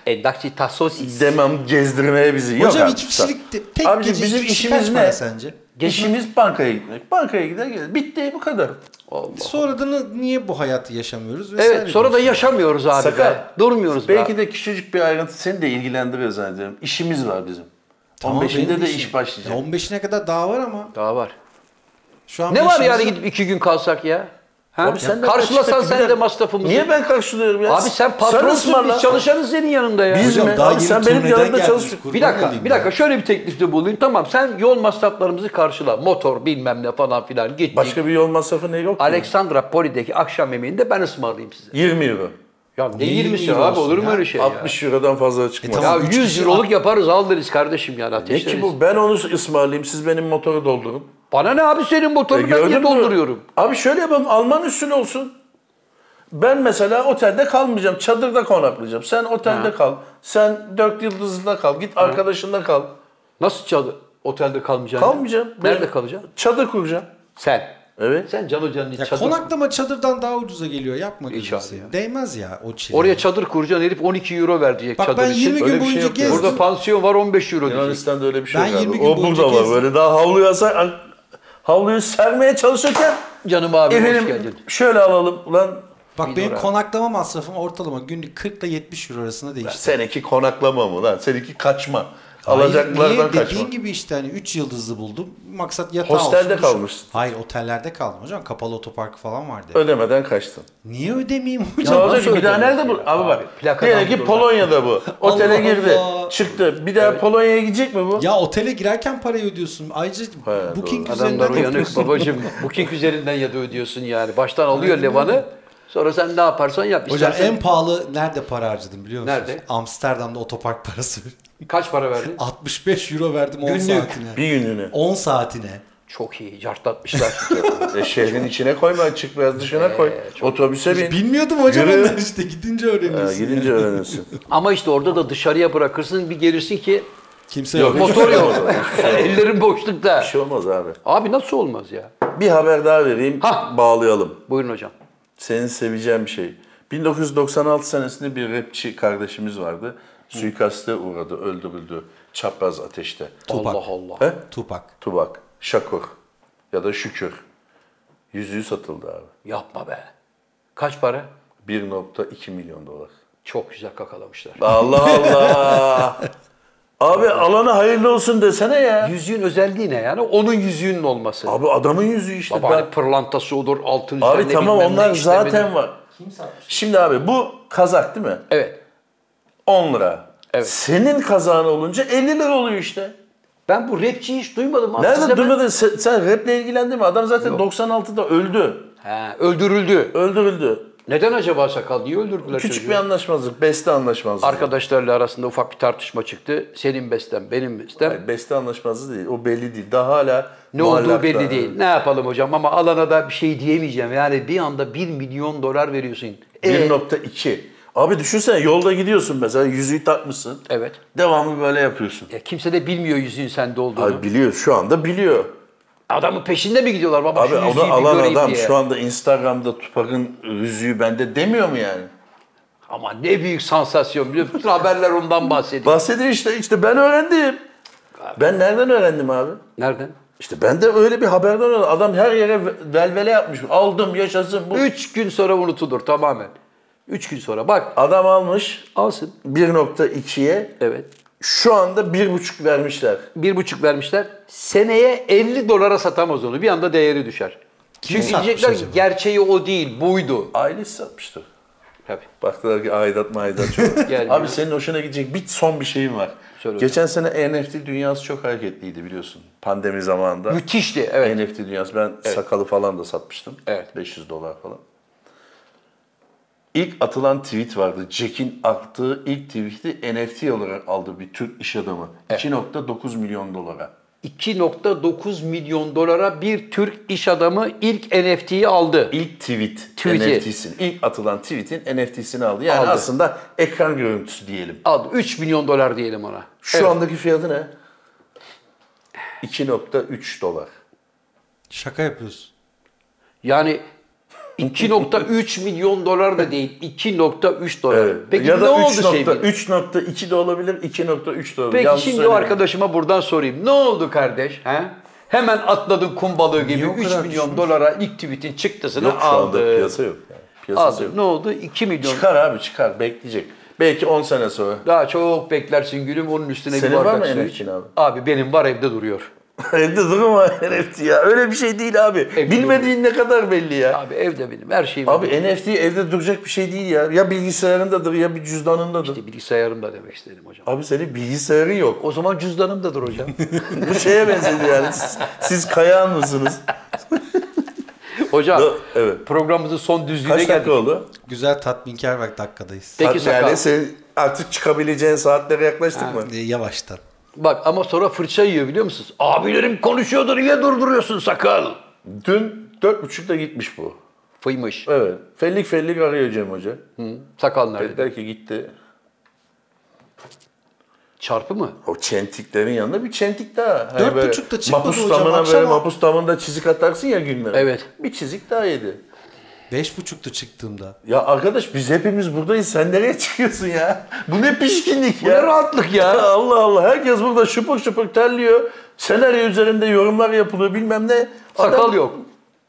Speaker 3: Endakçi Tassosis.
Speaker 2: Demem gezdirmeye bizi. Yok
Speaker 4: Hocam
Speaker 2: abi,
Speaker 4: iki
Speaker 2: sağ ol.
Speaker 4: kişilik de- tek
Speaker 2: Abicim,
Speaker 4: gece şey
Speaker 2: bizim
Speaker 4: iki kişi
Speaker 2: işimiz
Speaker 4: kaç
Speaker 2: ne?
Speaker 4: para sence?
Speaker 2: İşimiz bankaya gitmek. Bankaya gider gelir. Bitti bu kadar.
Speaker 4: Sonra da ne- niye bu hayatı yaşamıyoruz? vesaire
Speaker 3: Evet sonra da
Speaker 4: diyorsun.
Speaker 3: yaşamıyoruz abi
Speaker 2: Sakal.
Speaker 3: be. Durmuyoruz
Speaker 2: Belki
Speaker 3: be.
Speaker 2: de küçücük bir ayrıntı seni de ilgilendiriyor zannediyorum. İşimiz var bizim.
Speaker 4: Tamam,
Speaker 2: 15'inde
Speaker 4: benim
Speaker 2: de
Speaker 4: işim.
Speaker 2: iş başlayacak.
Speaker 4: Ya 15'ine kadar daha var ama.
Speaker 3: Daha var.
Speaker 4: Şu an
Speaker 3: Ne var
Speaker 4: beşimiz
Speaker 3: yani
Speaker 4: yok.
Speaker 3: gidip iki gün kalsak ya? Ha?
Speaker 2: Abi sen de
Speaker 3: Karşılasan
Speaker 2: kaçtaki
Speaker 3: sen
Speaker 2: bir
Speaker 3: de
Speaker 2: de-
Speaker 3: masrafımızı.
Speaker 2: Niye ben karşılıyorum ya?
Speaker 3: Abi sen patronsun
Speaker 2: ısmarla.
Speaker 3: biz çalışanız senin yanında ya.
Speaker 2: Biz
Speaker 4: Hocam
Speaker 2: mi?
Speaker 4: daha
Speaker 2: Abi
Speaker 4: yeni
Speaker 2: sen benim
Speaker 4: turneden
Speaker 2: yanımda
Speaker 4: geldiniz,
Speaker 2: çalışıyorsun.
Speaker 4: kurban
Speaker 3: Bir dakika,
Speaker 4: olayım
Speaker 3: bir
Speaker 4: ya.
Speaker 3: dakika. Şöyle bir teklifte bulunayım. Tamam sen yol masraflarımızı karşıla. Motor bilmem ne falan filan gittik.
Speaker 2: Başka bir yol masrafı ne yok ki?
Speaker 3: Aleksandra Poli'deki akşam yemeğinde ben ısmarlayayım size.
Speaker 2: 20 euro.
Speaker 3: Ya ne
Speaker 4: Niye
Speaker 3: 20
Speaker 4: yirmi
Speaker 3: lira abi
Speaker 4: olsun
Speaker 3: olur mu
Speaker 4: ya?
Speaker 3: öyle şey ya?
Speaker 2: 60 eurodan fazla çıkmaz.
Speaker 3: Ya
Speaker 4: E
Speaker 3: şey
Speaker 4: tamam, üç
Speaker 3: 100
Speaker 4: kişi-
Speaker 3: euroluk yaparız aldırız kardeşim yani
Speaker 2: ne ki
Speaker 3: ateşleriz.
Speaker 2: bu? Ben onu ısmarlayayım. Siz benim motoru doldurun.
Speaker 3: Bana ne abi senin motorunu
Speaker 2: E,
Speaker 3: ben
Speaker 2: gördün
Speaker 3: niye
Speaker 2: mü?
Speaker 3: dolduruyorum?
Speaker 2: Abi şöyle yapalım. Alman üstüne olsun. Ben mesela otelde kalmayacağım. Çadırda konaklayacağım. Sen otelde kal. Sen dört yıldızlıda kal. Git arkadaşınla kal.
Speaker 3: Nasıl çalı? Otelde kalmayacaksın.
Speaker 2: Kalmayacağım.
Speaker 3: Nerede
Speaker 2: Ben
Speaker 3: kalacaksın?
Speaker 2: Çadır kuracağım.
Speaker 3: Sen.
Speaker 2: Evet.
Speaker 3: Sen Can Hoca'nın
Speaker 4: Ya
Speaker 3: çadır.
Speaker 4: konaklama çadırdan daha ucuza geliyor. Yapma gözünü
Speaker 3: abi
Speaker 4: seveyim. Değmez ya o çile.
Speaker 3: Oraya çadır kuracaksın herif 12 euro verecek
Speaker 4: Bak
Speaker 3: çadır
Speaker 4: ben
Speaker 3: için.
Speaker 4: 20
Speaker 2: öyle
Speaker 4: gün
Speaker 2: bir şey
Speaker 4: boyunca
Speaker 2: yok ya.
Speaker 4: gezdim.
Speaker 3: Burada pansiyon var 15 euro diyecek.
Speaker 2: Yunanistan'da öyle bir şey
Speaker 4: Ben
Speaker 2: yok abi.
Speaker 4: 20 gün
Speaker 2: O
Speaker 4: boyunca
Speaker 2: burada var.
Speaker 4: gezdim.
Speaker 2: Böyle daha havluyu asar, havluyu sermeye çalışırken
Speaker 3: Canım abi hoş
Speaker 2: efendim
Speaker 3: geldin.
Speaker 2: şöyle alalım. Ulan
Speaker 4: Bak benim konaklama masrafım ortalama günlük 40 ile 70 euro arasında değişti.
Speaker 2: seninki konaklama mı lan? Seninki kaçma.
Speaker 4: Hayır,
Speaker 2: Alacaklardan
Speaker 4: niye?
Speaker 2: kaçma.
Speaker 4: Dediğin gibi işte hani 3 yıldızlı buldum. Maksat yatağı
Speaker 2: Hostelde
Speaker 4: olsun, duş-
Speaker 2: kalmışsın.
Speaker 4: Hayır otellerde kaldım hocam. Kapalı otoparkı falan vardı.
Speaker 2: Ödemeden kaçtın.
Speaker 4: niye ödemeyeyim
Speaker 2: Ne
Speaker 4: hocam?
Speaker 2: olacak? Bir daha
Speaker 3: ödemiyor
Speaker 2: nerede bu?
Speaker 3: ya?
Speaker 2: Abi bak.
Speaker 3: Plakadan
Speaker 2: Diyelim ki
Speaker 3: dur.
Speaker 2: Polonya'da bu. Otele
Speaker 4: Allah
Speaker 2: girdi.
Speaker 4: Allah.
Speaker 2: Çıktı. Bir daha Polonya'ya gidecek mi bu?
Speaker 4: ya otele girerken parayı ödüyorsun. Ayrıca
Speaker 2: He,
Speaker 4: booking
Speaker 2: doğru.
Speaker 3: Adamlar
Speaker 4: üzerinden
Speaker 3: uyanık
Speaker 4: yapıyorsun.
Speaker 3: babacım. Booking üzerinden ya da ödüyorsun yani. Baştan alıyor Levan'ı. Sonra sen ne yaparsan yap.
Speaker 4: Hocam
Speaker 3: İstersen
Speaker 4: en pahalı nerede para harcadım biliyor musunuz?
Speaker 3: Nerede?
Speaker 4: Amsterdam'da otopark parası.
Speaker 3: kaç para verdin?
Speaker 4: 65 euro verdim 10
Speaker 3: Günlük.
Speaker 4: saatine.
Speaker 2: Bir gününü.
Speaker 4: 10 saatine.
Speaker 3: Çok iyi. Cartlatmışlar.
Speaker 2: E, şehrin içine koyma. Çık biraz dışına koy. Otobüse bin.
Speaker 4: Bilmiyordum hocam
Speaker 2: Yürü.
Speaker 4: onları işte gidince
Speaker 2: Ha,
Speaker 4: öğreniyorsun.
Speaker 2: gidince öğrenirsin.
Speaker 3: Ama işte orada da dışarıya bırakırsın bir gelirsin ki
Speaker 4: Kimse
Speaker 2: Yok,
Speaker 4: yok.
Speaker 2: hiç-
Speaker 3: motor yok.
Speaker 2: Hiçbir şey olmaz.
Speaker 3: Ellerin boşlukta.
Speaker 2: Bir şey olmaz abi.
Speaker 3: Abi nasıl olmaz ya?
Speaker 2: Bir haber daha vereyim.
Speaker 3: Ha.
Speaker 2: Bağlayalım.
Speaker 3: Buyurun hocam.
Speaker 2: Senin seveceğin bir şey. 1996 senesinde bir rapçi kardeşimiz vardı. Suikaste uğradı, öldürüldü. Çapraz ateşte.
Speaker 4: Tupac.
Speaker 3: Allah Allah.
Speaker 2: He?
Speaker 4: Tupac.
Speaker 2: Tubak, Şakur ya da Şükür. Yüzüğü satıldı abi.
Speaker 3: Yapma be. Kaç para?
Speaker 2: 1.2 milyon dolar.
Speaker 3: Çok güzel kakalamışlar.
Speaker 2: Allah Allah. abi alana hayırlı olsun desene ya.
Speaker 3: Yüzüğün özelliği ne yani? Onun yüzüğünün olması.
Speaker 2: Abi adamın yüzüğü işte.
Speaker 3: Baba hani
Speaker 2: Ben-
Speaker 3: pırlantası olur, altın
Speaker 2: Abi
Speaker 3: üzerine
Speaker 2: tamam
Speaker 3: bilmem ne
Speaker 2: onlar
Speaker 3: işlemeli.
Speaker 2: zaten var. Kim satmış? Şimdi abi bu kazak değil mi?
Speaker 3: Evet.
Speaker 2: 10 lira.
Speaker 3: Evet.
Speaker 2: Senin kazağın olunca 50 lira oluyor işte.
Speaker 3: Ben bu rapçiyi hiç duymadım. abi. Size
Speaker 2: Nerede
Speaker 3: ben-
Speaker 2: duymadın? Sen, sen raple ilgilendin mi? Adam zaten 96'da öldü.
Speaker 3: He, öldürüldü.
Speaker 2: Öldürüldü.
Speaker 3: Neden acaba sakal? Niye öldürdüler
Speaker 2: Küçük
Speaker 3: çocuğu?
Speaker 2: bir anlaşmazlık, beste anlaşmazlığı.
Speaker 3: Arkadaşlarla arasında ufak bir tartışma çıktı. Senin bestem, benim bestem.
Speaker 2: Hayır, beste anlaşmazlığı değil. O belli değil. Daha hala
Speaker 3: Ne olduğu
Speaker 2: muallakta.
Speaker 3: belli değil. Ne yapalım hocam ama alana da bir şey diyemeyeceğim. Yani bir anda 1 milyon dolar veriyorsun. E,
Speaker 2: 1.2. Abi düşünsene yolda gidiyorsun mesela yüzüğü takmışsın.
Speaker 3: Evet.
Speaker 2: Devamlı böyle yapıyorsun.
Speaker 3: ya kimse de bilmiyor yüzüğün sende olduğunu.
Speaker 2: Abi biliyor şu anda biliyor.
Speaker 3: Adamın peşinde mi gidiyorlar baba
Speaker 2: Abi
Speaker 3: şu yüzüğü
Speaker 2: onu
Speaker 3: bir
Speaker 2: alan
Speaker 3: göreyim
Speaker 2: adam
Speaker 3: diye.
Speaker 2: şu anda Instagram'da Tupak'ın yüzüğü bende demiyor mu yani?
Speaker 3: Ama ne büyük sansasyon biliyor musun? Bütün haberler ondan bahsediyor.
Speaker 2: Bahsediyor işte işte ben öğrendim. Ben nereden öğrendim abi?
Speaker 3: Nereden?
Speaker 2: İşte ben de öyle bir haberden öğrendim. Adam her yere velvele yapmış. Aldım yaşasın bu.
Speaker 3: Üç gün sonra unutulur tamamen. Üç gün sonra bak
Speaker 2: Adam almış
Speaker 3: alsın.
Speaker 2: 1.2'ye
Speaker 3: Evet.
Speaker 2: şu anda 1.5 vermişler.
Speaker 3: Bir buçuk vermişler. Seneye 50 dolara satamaz onu. Bir anda değeri düşer.
Speaker 4: Kim
Speaker 3: Çünkü
Speaker 4: satmış
Speaker 2: şey
Speaker 3: diyecekler ki
Speaker 4: acaba?
Speaker 3: gerçeği o değil, buydu.
Speaker 2: Ailesi satmıştı.
Speaker 3: Tabii.
Speaker 2: Baktılar ki aidat maidat çok.
Speaker 3: Gelmiyor.
Speaker 2: Abi senin hoşuna gidecek bir son bir şeyim var.
Speaker 3: Söyle hocam.
Speaker 2: Geçen sene NFT dünyası çok hareketliydi biliyorsun. Pandemi zamanında.
Speaker 3: Müthişti. Evet.
Speaker 2: NFT dünyası. Ben sakalı falan da satmıştım.
Speaker 3: Evet.
Speaker 2: 500 dolar falan. İlk atılan tweet vardı. Jack'in attığı ilk tweet'i NFT olarak aldı bir Türk iş adamı. 2.9 milyon dolara.
Speaker 3: 2.9 milyon dolara bir Türk iş adamı ilk NFT'yi aldı.
Speaker 2: İlk tweet
Speaker 3: Tweet'i.
Speaker 2: NFT'sini, ilk atılan tweet'in NFT'sini aldı. Yani
Speaker 3: Aldı.
Speaker 2: aslında ekran görüntüsü diyelim.
Speaker 3: Aldı. 3 milyon dolar diyelim ona.
Speaker 2: Şu
Speaker 3: Evet.
Speaker 2: andaki fiyatı ne? 2.3 dolar.
Speaker 4: Şaka yapıyorsun.
Speaker 3: Yani 2.3 milyon dolar da değil. 2.3 dolar. Peki
Speaker 2: ya
Speaker 3: ne
Speaker 2: da
Speaker 3: oldu
Speaker 2: 3
Speaker 3: şey?
Speaker 2: nokta,
Speaker 3: mi?
Speaker 2: 3.2 de olabilir, 2.3 de olabilir.
Speaker 3: Peki
Speaker 2: Yanlış
Speaker 3: şimdi o
Speaker 2: söylemiyorum.
Speaker 3: arkadaşıma buradan sorayım. Ne oldu kardeş? He? Hemen atladın kum balığı gibi
Speaker 4: Niye o
Speaker 3: 3 milyon
Speaker 4: kadar düşmüş?
Speaker 3: dolara ilk tweet'in çıktasını
Speaker 2: Yok şu anda
Speaker 3: aldı.
Speaker 2: piyasa yok. Yani. Piyasası
Speaker 3: Aldı.
Speaker 2: yok.
Speaker 3: Ne oldu? 2 milyon.
Speaker 2: Çıkar abi çıkar, bekleyecek. Belki 10 sene sonra.
Speaker 3: Daha çok beklersin gülüm onun üstüne
Speaker 2: Senin
Speaker 3: bir
Speaker 2: var
Speaker 3: bardak
Speaker 2: mı
Speaker 3: su
Speaker 2: NFT'in
Speaker 3: iç.
Speaker 2: abi?
Speaker 3: Abi benim var evde duruyor.
Speaker 2: Evde durma NFT ya. Öyle bir şey değil abi.
Speaker 3: Evde
Speaker 2: Bilmediğin ne kadar belli ya.
Speaker 3: Abi evde benim her şeyim.
Speaker 2: Abi NFT evde duracak bir şey değil ya. Ya bilgisayarındadır ya bir cüzdanındadır.
Speaker 3: bilgisayarımda demek istedim hocam.
Speaker 2: Abi senin bilgisayarın yok.
Speaker 3: O zaman cüzdanımdadır hocam.
Speaker 2: Bu şeye benzedi yani. Siz, siz kayağın mısınız?
Speaker 3: hocam
Speaker 2: Evet.
Speaker 3: programımızın son düzlüğüne
Speaker 2: Kaç dakika
Speaker 3: geldik.
Speaker 2: oldu?
Speaker 4: Güzel tatminkar bak dakikadayız.
Speaker 3: Peki
Speaker 2: yani
Speaker 3: sakal.
Speaker 2: sen artık çıkabileceğin saatlere yaklaştık mı?
Speaker 4: E, Yavaştan.
Speaker 3: Bak ama sonra fırça yiyor biliyor musunuz? Abilerim konuşuyordur niye durduruyorsun sakal?
Speaker 2: Dün 4.30'da gitmiş bu.
Speaker 3: Fıymış.
Speaker 2: Evet. Fellik fellik arıyor Cem Hoca.
Speaker 3: Sakal nerede?
Speaker 2: Dediler ki gitti.
Speaker 3: Çarpı mı?
Speaker 2: O çentiklerin yanında bir çentik daha. Hani
Speaker 4: Dört
Speaker 2: böyle
Speaker 4: buçukta çıkmadı
Speaker 2: mapus
Speaker 4: hocam,
Speaker 2: damına
Speaker 4: akşama.
Speaker 2: Böyle, mapus damında çizik atarsın ya günlere.
Speaker 3: Evet.
Speaker 2: Bir çizik daha yedi.
Speaker 4: Beş buçuktu çıktığımda.
Speaker 2: Ya arkadaş biz hepimiz buradayız. Sen nereye çıkıyorsun ya? Bu ne pişkinlik
Speaker 3: Bu
Speaker 2: ya?
Speaker 3: ne rahatlık ya?
Speaker 2: Allah Allah. Herkes burada şıpık şıpık terliyor. Senaryo üzerinde yorumlar yapılıyor bilmem ne. Adam
Speaker 3: Sakal yok.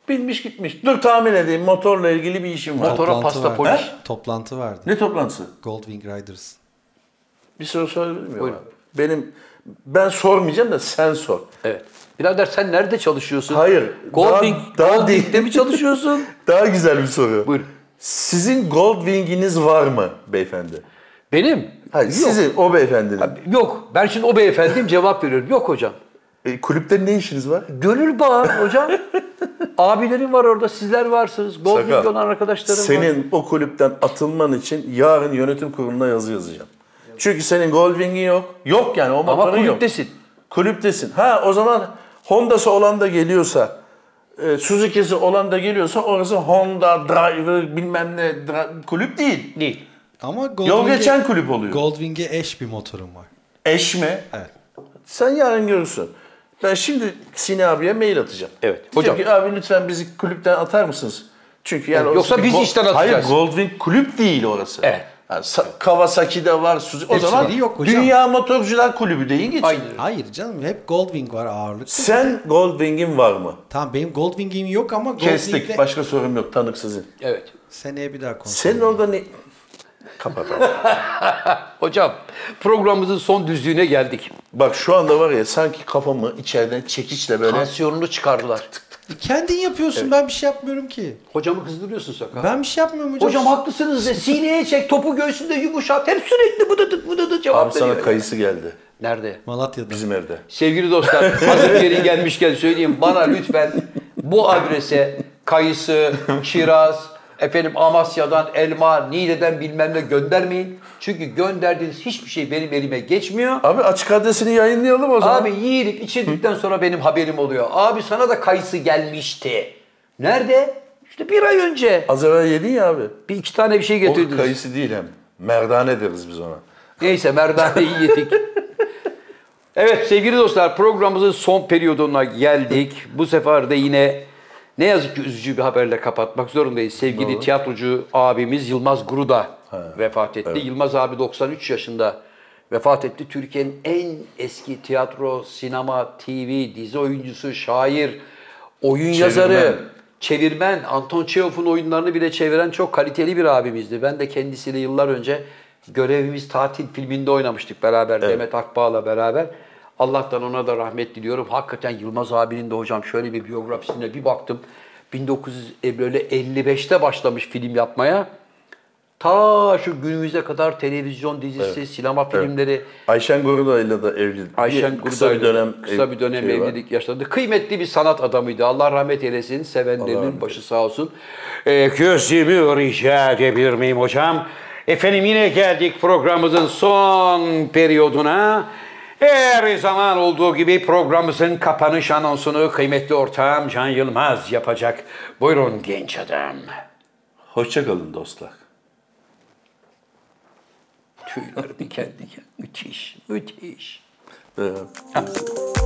Speaker 2: Bilmiş gitmiş. Dur tahmin edeyim motorla ilgili bir işim var.
Speaker 3: Motor- Motora
Speaker 4: Toplantı
Speaker 3: pasta
Speaker 4: vardı.
Speaker 3: polis.
Speaker 4: He? Toplantı vardı.
Speaker 2: Ne toplantısı?
Speaker 4: Goldwing Riders.
Speaker 2: Bir soru sorabilir miyim?
Speaker 3: Buyurun.
Speaker 2: abi? Benim ben sormayacağım da sen sor.
Speaker 3: Evet. Birader sen nerede çalışıyorsun?
Speaker 2: Hayır,
Speaker 3: Golding,
Speaker 2: daha- daha
Speaker 3: Golding'de
Speaker 2: değil.
Speaker 3: mi çalışıyorsun?
Speaker 2: Daha güzel bir soru.
Speaker 3: Buyur.
Speaker 2: Sizin Goldwing'iniz var mı beyefendi?
Speaker 3: Benim?
Speaker 2: Hayır,
Speaker 3: Yok.
Speaker 2: sizin o beyefendinin.
Speaker 3: Yok. Ben şimdi o beyefendiyim cevap veriyorum. Yok hocam.
Speaker 2: E, kulüpte ne işiniz var?
Speaker 3: Gönül bağı hocam. Abilerim var orada, sizler varsınız. Goldwing olan arkadaşlarım var.
Speaker 2: Senin o kulüpten atılman için yarın yönetim kuruluna yazı yazacağım. Çünkü senin Goldwing'in yok. Yok yani o
Speaker 3: Ama
Speaker 2: motorun yok.
Speaker 3: kulüptesin.
Speaker 2: Kulüptesin. Ha o zaman Honda'sı olan da geliyorsa, e, Suzuki'si olan da geliyorsa orası Honda driver bilmem ne dra- kulüp değil.
Speaker 3: Değil.
Speaker 4: Ama
Speaker 2: Yol
Speaker 4: Goldwing'e,
Speaker 2: geçen kulüp oluyor.
Speaker 4: Goldwing'e eş bir motorum var.
Speaker 2: Eş mi?
Speaker 4: Evet.
Speaker 2: Sen yarın görürsün. Ben şimdi Sine abiye mail atacağım.
Speaker 3: Evet,
Speaker 2: Diyeceğim
Speaker 3: hocam.
Speaker 2: ki abi lütfen bizi kulüpten atar mısınız? Çünkü yani
Speaker 3: Evet, yoksa
Speaker 2: orası bir
Speaker 3: biz işten
Speaker 2: Hayır
Speaker 3: atacağız.
Speaker 2: Goldwing kulüp değil orası.
Speaker 3: Evet.
Speaker 2: Yani Sa- Kawasaki'de var. Suzu- O
Speaker 4: Hepsi
Speaker 2: zaman
Speaker 4: var. Yok hocam.
Speaker 2: Dünya Motorcular Kulübü deyin geçin.
Speaker 3: Hayır.
Speaker 4: Hayır canım hep Goldwing var ağırlık.
Speaker 2: Sen Goldwing'in var mı?
Speaker 4: Tamam benim Goldwing'im yok ama
Speaker 2: Kestik.
Speaker 4: Goldwing'le
Speaker 2: Başka sorum yok tanık sizin.
Speaker 3: Evet.
Speaker 4: seneye bir daha konuşalım.
Speaker 2: Senin orada ne... Kapat abi.
Speaker 3: Hocam programımızın son düzlüğüne geldik.
Speaker 2: Bak şu anda var ya sanki kafamı içeriden çekiçle böyle...
Speaker 3: Tansiyonunu çıkardılar.
Speaker 4: Kendin yapıyorsun ben bir şey yapmıyorum ki.
Speaker 3: Hocamı kızdırıyorsun sakal.
Speaker 4: Ben bir şey yapmıyorum hocam.
Speaker 3: Hocam haklısınız de sineye çek, topu göğsünde yumuşat. Hep sürekli bıdıdık bıdıdık cevap
Speaker 2: Abi sana
Speaker 3: veriyor.
Speaker 2: kayısı geldi.
Speaker 3: Nerede?
Speaker 4: Malatya'da.
Speaker 2: Bizim evde.
Speaker 3: Sevgili dostlar, hazır yeri gelmişken söyleyeyim. Bana lütfen bu adrese kayısı, kiraz, Efendim Amasya'dan elma, Niğde'den bilmem ne göndermeyin. Çünkü gönderdiğiniz hiçbir şey benim elime geçmiyor.
Speaker 2: Abi açık adresini yayınlayalım o zaman.
Speaker 3: Abi yiyip içirdikten sonra benim haberim oluyor. Abi sana da kayısı gelmişti. Nerede? İşte bir ay önce.
Speaker 2: Az evvel yedin ya abi.
Speaker 3: Bir iki tane bir şey
Speaker 2: O
Speaker 3: getirdiniz.
Speaker 2: kayısı değil hem. Merdane deriz biz ona.
Speaker 3: Neyse merdaneyi yedik. evet sevgili dostlar programımızın son periyoduna geldik. Bu sefer de yine ne yazık ki üzücü bir haberle kapatmak zorundayız. Sevgili tiyatrocu abimiz Yılmaz Guruda vefat etti. Yılmaz abi 93 yaşında vefat etti. Türkiye'nin en eski tiyatro, sinema, TV, dizi oyuncusu, şair, oyun yazarı, çevirmen. Anton Çehov'un oyunlarını bile çeviren çok kaliteli bir abimizdi. Ben de kendisiyle yıllar önce Görevimiz Tatil filminde oynamıştık beraber Demet Akbağ'la beraber. Allah'tan ona da rahmet diliyorum. Hakikaten Yılmaz abinin de hocam şöyle bir biyografisine bir baktım. 1955'te başlamış film yapmaya. Ta şu günümüze kadar televizyon dizisi, sinema filmleri,
Speaker 2: Ayşen Guruda'yla da evli.
Speaker 3: Ayşen
Speaker 2: Bir- kısa bir
Speaker 3: Kurtaylı,
Speaker 2: dönem
Speaker 3: kısa
Speaker 2: ev-
Speaker 3: bir dönem
Speaker 2: şey var.
Speaker 3: evlilik yaşadı. Kıymetli bir sanat adamıydı. Allah rahmet eylesin.
Speaker 2: Allah
Speaker 3: Sevenlerinin
Speaker 2: rahmet
Speaker 3: başı sağ olsun. Ee, gözümü rica edebilir miyim hocam? Efendim yine geldik programımızın son periyoduna. Her zaman olduğu gibi programımızın kapanış anonsunu kıymetli ortağım Can Yılmaz yapacak. Buyurun genç adam.
Speaker 2: Hoşça kalın dostlar.
Speaker 3: Tüyler diken diken. Müthiş, müthiş.
Speaker 2: Ee,